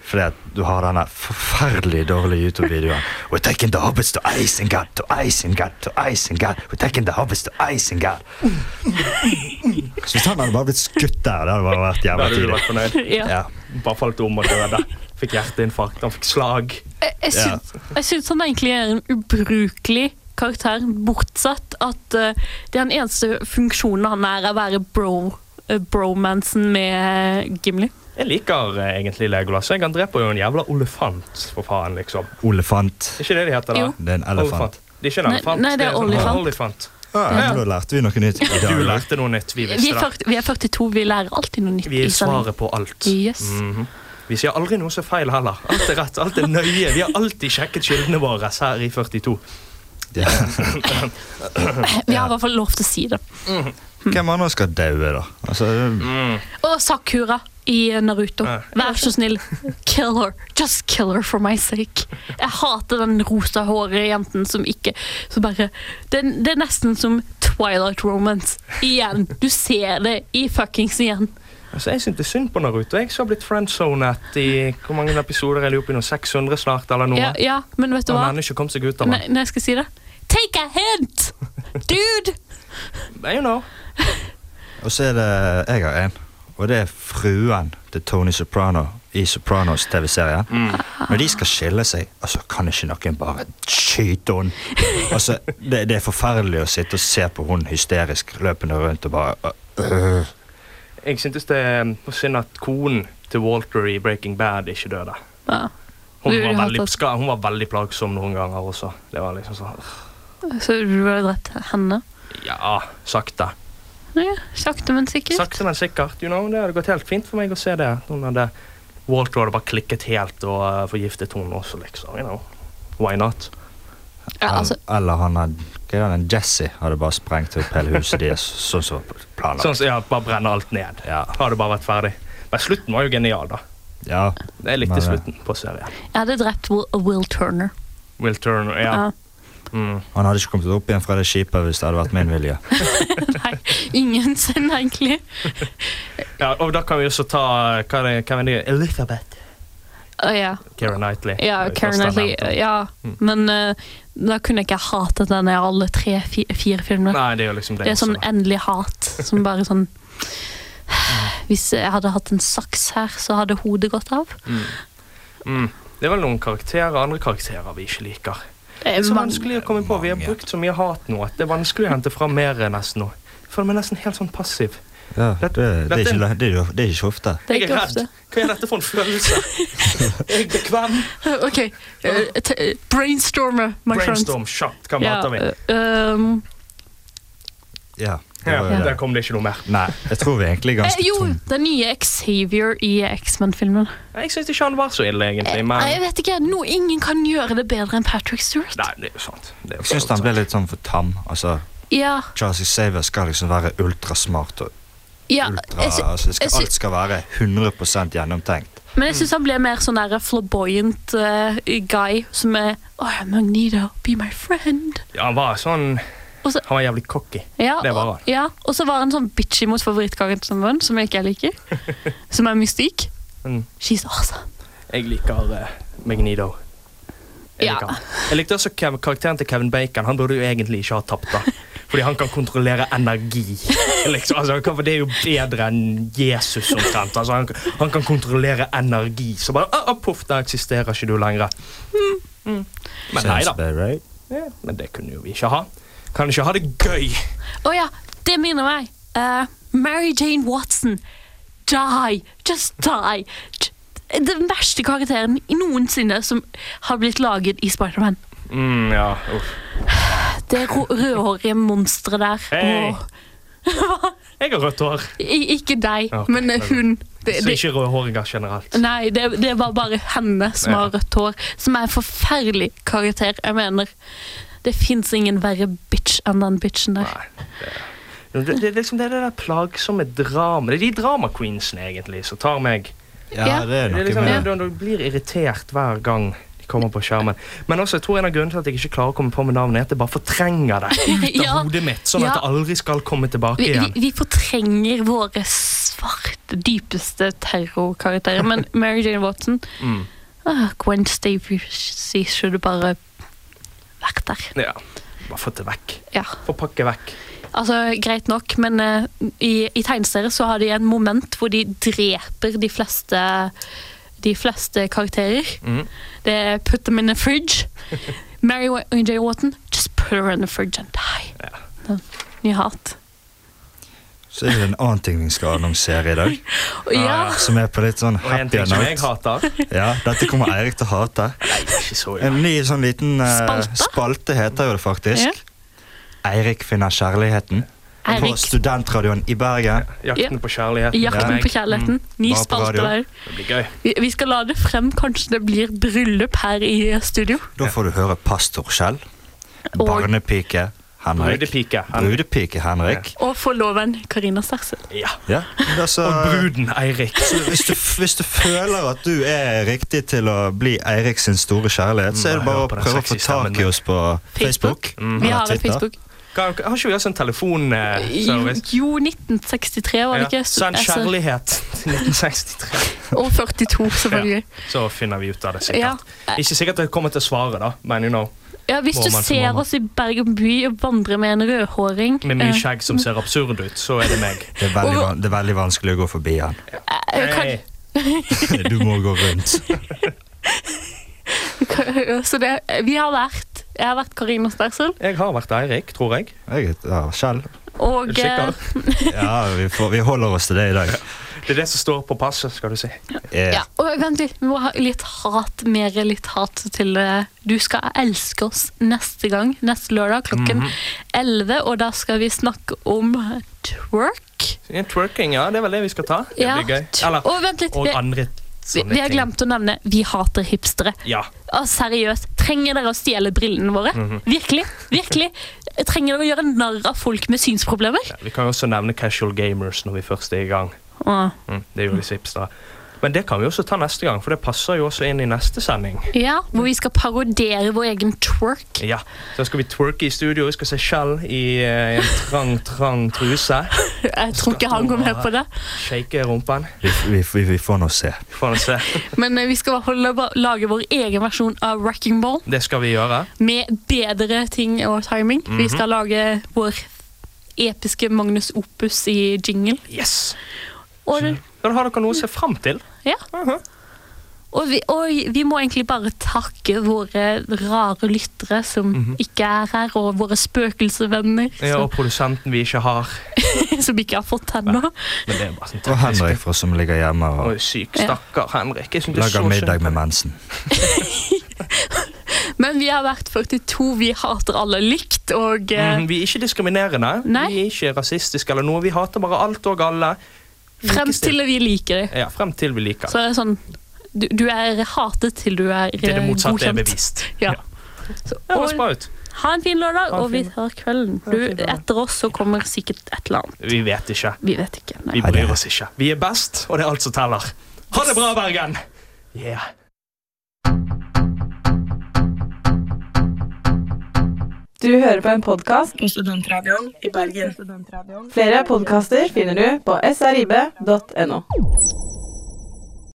S5: Fordi at du har denne forferdelig dårlige YouTube-videoen. We're taking the hobbits to Isengard, to Isengard, to Isengard. We're taking the hobbits to Isengard. Så hvis han hadde bare blitt skutt der, det hadde bare vært
S4: Da
S5: jævla
S4: hadde du
S5: tidlig.
S4: vært fornøyd.
S3: Ja.
S5: Ja.
S4: Bare falt om og døde. Fikk hjerteinfarkt, han fikk slag.
S3: Jeg- Jeg
S5: Ja.
S3: syns, jeg syns han egentlig er en ubrukelig karakter, bortsett at eh, det er den eneste funksjonen han er, er å være bro, eh, bromansen med Gimli.
S4: Jeg liker eh, egentlig Legolas. Jeg kan drepe jo en jævla olefant, for faen, liksom.
S5: Olefant.
S4: Er ikke det de heter, da?
S5: Jo. Det er en elefant.
S4: Det er ikke en
S3: Nei,
S4: elefant.
S3: nei, det er
S4: en sånn
S3: olifant.
S4: olifant.
S5: Ja, Da lærte vi noe nytt. i dag.
S4: Du lærte noe nytt. Vi
S3: Vi
S4: visste
S3: er,
S4: det.
S3: 40, vi er 42, vi lærer alltid noe nytt.
S4: Vi
S3: i
S4: er
S3: sending.
S4: svaret på alt.
S3: Yes.
S4: Mhm. Vi sier aldri noe som er feil heller. Alt er rett, alt er nøye. Vi har alltid sjekket kildene våre her i 42.
S3: Vi har i hvert fall lov til å si det.
S5: Hvem andre skal daue, da? Altså,
S4: Mm.
S3: Og Sakura i Naruto.
S5: Ja.
S3: Vær så snill, kill her. Just kill her for my sake. Jeg hater den rosahårige jenten som ikke som bare, det, det er nesten som Twilight Romance. Igjen. Du ser det i fuckings igjen.
S4: Altså, Jeg syntes synd på Naruto. Jeg som har blitt friendzonet i hvor mange episoder er de oppe i nå? 600 snart, eller noe?
S3: Ja, ja, men vet du
S4: Og
S3: hva?
S4: han ikke kom seg ut av
S3: Nei,
S4: det.
S3: nei, jeg skal si det. Take a hint! Dude!
S4: I know.
S5: og så er det Jeg har en. Og det er fruen til Tony Soprano i Sopranos TV-serie.
S4: Mm.
S5: Når de skal skille seg, altså kan ikke noen bare skyte henne? Altså, det, det er forferdelig å sitte og se på hun hysterisk løpende rundt og bare øh.
S4: Jeg syntes det er på synd at konen til Walter i Breaking Bad ikke døde.
S3: Ja.
S4: Hun var,
S3: Du ville hatt
S4: veldig,
S3: at-
S4: ska- hun var veldig plagsom noen ganger også. Det var liksom sånn øh,
S3: Så du har drept henne?
S4: Ja, sakte.
S3: Ja, sakte, men sikkert.
S4: Sakte, men sikkert. You know, det hadde gått helt fint for meg å se det. Hun hadde, Walter hadde bare klikket helt og eh, forgiftet hun også, liksom. You know. Why not?
S3: Ja, altså,
S5: Eller han hadde hva er det, han, Jesse hadde bare sprengt opp hele huset deres, sånn som planlagt.
S4: Sånn som ja, bare brenne alt ned. Ja. Hadde bare vært ferdig. Men slutten var jo genial, da.
S5: Ja.
S4: Jeg likte
S5: Men, eh,
S4: slutten på serien.
S3: jeg hadde drept Will, Will Turner.
S4: Will Turner, ja.
S3: Ja.
S4: Mm.
S5: Han hadde ikke kommet opp igjen fra det skipet hvis det hadde vært min vilje.
S3: Ingensinne, egentlig.
S4: ja. Og da kan vi også ta eh, hva er det, hvem er det? Elizabeth.
S3: Å, ja.
S4: Keira Knightley.
S3: Ja,
S4: Det
S3: Karen
S4: første jeg
S3: Knightley.
S4: nevnte.
S3: Ja. Men eh, da kunne jeg ikke hatet henne i alle tre, fi- fire filmene.
S4: Nei, det er jo liksom det.
S3: Det er sånn
S4: også.
S3: endelig hat, som bare sånn Hvis jeg hadde hatt en saks her, så hadde hodet gått av.
S4: Mm. Mm. Det er vel noen karakterer, andre karakterer vi ikke liker.
S3: Det
S4: Det
S3: er
S4: er så
S3: mange-
S4: vanskelig å komme på. Vi har brukt så mye hat nå at det er vanskelig å hente fram mer enn nesten nå. Jeg føler meg nesten helt sånn passiv.
S5: Ja, det, det, er ikke, la- det, er jo- det er ikke ofte.
S3: Det er
S4: Jeg er
S3: ikke
S4: redd.
S3: ofte.
S4: Hva er dette for en følelse? Jeg er bekvem.
S3: OK. eh, t- eh, brainstormer, my friend.
S4: Brainstorm kjapt. Hva
S3: Ja,
S4: mater vi?
S3: eh, um,
S5: Ja, det
S4: Ja,
S5: var jo
S4: Der
S5: det.
S4: kom det ikke noe mer.
S5: Nei, jeg tror vi er egentlig
S3: eh,
S5: ganske
S3: jo, den nye Xavier i X-Men-filmen.
S4: Jeg syns ikke han var så ille, egentlig,
S3: Eh, Nei, jeg
S4: men
S3: vet ikke. No, ingen kan gjøre det bedre enn Patrick Stewart.
S4: Nei, det er jo sant. Det er jo
S5: Jeg syns han ble litt sånn for tam. Altså,
S3: Ja,
S5: Charles Xavier skal liksom være ultrasmart. og
S3: ja
S5: ultra,
S3: jeg sy-
S5: altså, det skal,
S3: jeg sy-
S5: Alt skal være 100 gjennomtenkt.
S3: Men jeg syns han ble mer sånn der flamboyant eh, guy som er Oh, Magneto, be my friend.
S4: Ja, han var sånn
S3: Og så-
S4: Han var jævlig cocky.
S3: Ja,
S4: Det var
S3: og-
S4: han.
S3: Ja, og så var han sånn bitchy mot favorittkarakteren som jeg ikke liker. som er mystikk.
S4: Mm.
S3: She's awesome.
S4: Jeg liker eh, Magneto. Jeg,
S3: Ja.
S4: liker han. jeg likte også Kev karakteren til Kevin Bacon. Han burde jo egentlig ikke ha tapt, da. Fordi han kan kontrollere energi. Liksom. Altså, han kan, for det er jo bedre enn Jesus omtrent. Altså, han, kan- han kan kontrollere energi. Så bare ah, ah, poff, der eksisterer ikke du lenger. Mm, Men nei da.
S5: Sounds right.
S4: Ja, men det kunne jo vi ikke ha. Kan ikke ha det gøy.
S3: Å ja, det minner meg. Eh, Mary Jane Watson. Die! Just die! J- Den verste karakteren noensinne som har blitt laget i Spiderman.
S4: Mm, ja, uff.
S3: Det rå- rødhårige monsteret der.
S4: Hei.
S3: Åh.
S4: Jeg har rødt hår.
S3: I, ikke deg,
S4: Ok,
S3: men eh,
S4: ok.
S3: hun. Det, Mm.
S4: Så
S3: det,
S4: ikke rødhåringer generelt.
S3: nei, det, det var bare henne som
S4: Ja.
S3: har rødt hår. Som er en forferdelig karakter. Jeg mener, det fins ingen verre bitch enn den bitchen der.
S4: Det, det, er liksom, det er det der plagsomme drama. Det er de drama queensene egentlig som tar meg.
S5: Ja, det er
S4: Det
S5: noe
S4: er liksom,
S5: med
S4: du, du blir irritert hver gang de kommer på skjermen. Men også, jeg tror en av grunnene til at jeg ikke klarer å komme på med navnet, er at jeg bare fortrenger det ut av
S3: Ja.
S4: hodet mitt, sånn at
S3: Ja.
S4: det aldri skal komme tilbake
S3: Vi, vi,
S4: igjen.
S3: vi fortrenger våre svarte, dypeste terrorkarakterer. Men Mary Jane Watson
S4: Mm.
S3: ah, Gwen Stacy skulle bare vært der.
S4: Ja. Bare få det vekk.
S3: Ja.
S4: Få pakke vekk.
S3: Altså, Greit nok, men eh, i, i tegneserier så har de en moment hvor de dreper de fleste, de fleste karakterer.
S4: Mhm.
S3: Det er put them in the fridge. Mary Wa- J. Watton, just put her in the fridge and die. Ja. Ny hat.
S5: så er det en annen ting vi skal annonsere i dag.
S3: Ja.
S5: Som er på litt sånn
S4: Og en
S5: happy
S4: ting som jeg
S5: note.
S4: hater.
S5: Ja, dette kommer Eirik til å hate.
S4: Ikke så
S5: En ny sånn liten eh,
S3: Spalte?
S5: spalte heter jo det faktisk. Eirik finner kjærligheten. På
S3: Eirik.
S5: studentradioen i Bergen.
S4: Jakten på kjærligheten.
S3: Jakten på kjærligheten. Ny
S5: Bare på
S3: spalte
S5: radio.
S3: der.
S4: Det blir gøy.
S3: Vi, vi skal lade frem. Kanskje det blir bryllup her i studio.
S5: Da får du høre pastor Kjell.
S3: Og-
S5: Barnepike Henrik.
S4: Brudepike. Henrik.
S5: Brudepike Henrik.
S3: Og forloveren Karina Stersel.
S4: Ja.
S5: Ja. Altså,
S4: Og bruden Eirik.
S5: hvis, du, hvis du føler at du er riktig til å bli Eirik sin store kjærlighet, så er det
S4: Nei,
S5: bare
S4: hør
S5: å
S4: på Mm, den
S5: prøve å få
S4: sexy stemmen Mm.
S5: tak i
S4: der.
S5: oss på Facebook.
S3: Vi har
S5: Eller
S3: en
S5: Twitter.
S3: Facebook.
S4: Har har ikke vi også en eh,
S3: Jo,
S4: telefonservice?
S3: jo, 1963 var det ikke.
S4: Send
S3: Altså,
S4: Sånn kjærlighet til 1963.
S3: Og 42, selvfølgelig.
S4: Så finner vi ut av det,
S3: Ja.
S4: sikkert. Ikke sikkert jeg kommer til svaret, da, men you know.
S3: Ja, hvis du
S4: Må man- må
S3: ser
S4: man.
S3: oss i Bergen by og vandrer med en rødhåring
S4: Med mye
S3: eh,
S4: skjegg som ser absurd ut, så er det meg.
S5: Det er, veldig, van- det er veldig vanskelig å gå forbi han.
S3: eh, kan,
S4: Hey.
S5: Du må gå rundt.
S3: kan, Så det, eh, vi har vært Jeg har vært Karina Stersel,
S4: Jeg har vært Eirik, tror jeg.
S5: Jeg, ja, Kjell.
S3: og
S4: Er du sikker?
S3: eh,
S5: Ja, vi, får, vi holder oss til det i dag.
S4: Det er det som står på passet, skal du si.
S5: Eh,
S3: Ja, og vent litt, vi må ha litt hat, mer litt hat til eh, Du skal elske oss neste gang, neste lørdag klokken
S4: Mhm.
S3: 11, og da skal vi snakke om twerk.
S4: Ja, Twerking, ja. Det er vel det vi skal ta. Det
S3: Ja,
S4: blir gøy.
S3: tw-
S4: Eller,
S3: og vent litt,
S4: og
S3: vi,
S4: andre
S3: vi,
S4: sånne
S3: vi har
S4: ting.
S3: glemt å nevne vi hater hipstere.
S4: Ja.
S3: Å, Ah, seriøst, trenger dere å stjele brillene våre? Virkelig? virkelig? Trenger dere å gjøre narr av folk med synsproblemer?
S4: Vi kan jo også nevne casual gamers når vi først er i gang.
S3: Åh,
S4: Mm, det gjorde Sips da. Men det kan vi også ta neste gang, for det passer jo også inn i neste sending.
S3: Ja, Hvor vi skal parodiere vår egen twerk.
S4: Ja, Så skal vi twerke i studio, vi skal se Kjell i eh, en trang, trang truse.
S3: Jeg tror ikke han går med på det.
S4: Shake rumpen.
S5: vi, vi, vi, vi får nå se.
S4: Vi får nå se.
S3: Men eh, vi skal i hvert fall la- lage vår egen versjon av Wrecking Ball
S4: Det skal vi gjøre.
S3: med bedre ting og timing. Vi skal lage vår episke Magnus Opus i jingle.
S4: Yes!
S3: Og,
S4: Da har dere noe å se fram til.
S3: ja. og, vi, og vi må egentlig bare takke våre rare lyttere som ikke er her, og våre spøkelsesvenner
S4: Mhm. Ja,
S3: som,
S4: og produsenten vi ikke har.
S3: som ikke har fått henne.
S4: Men det er bare sånn
S5: Og
S4: teknisk.
S5: Henrik, for som ligger hjemme
S4: Oi,
S5: og
S4: syk stakkar Henrik. Jeg synes det er
S5: lager
S4: så
S5: middag
S4: synd.
S5: med mensen.
S3: Men vi har vært 42, vi hater alle likt, og eh,
S4: Mhm, Vi er ikke diskriminerende.
S3: Nei.
S4: Vi er ikke rasistiske eller noe. Vi hater bare alt og alle.
S3: frem til vi liker det.
S4: Ja, frem til vi liker.
S3: Så er det sånn du, du er hatet til du er
S4: Til det
S3: eh,
S4: motsatte er
S3: godkjent.
S4: bevist.
S3: Ja.
S4: Ja.
S3: Så,
S4: Det høres
S3: og,
S4: bra ut.
S3: ha en fin lørdag,
S4: Ha en
S3: og vi
S4: fin
S3: tar kvelden. Du, etter oss så kommer sikkert et eller annet.
S4: Vi vet ikke.
S3: Vi vet ikke. Nei.
S4: Vi
S5: Nei, det
S4: bryr
S5: er-
S4: oss ikke. Vi er best, og det er alt som teller. Ha det bra, Bergen! Yeah.
S10: Du hører på en podkast
S2: På studentradioen
S10: i Bergen.
S2: Studentradioen.
S10: Flere podkaster finner du på srib.no.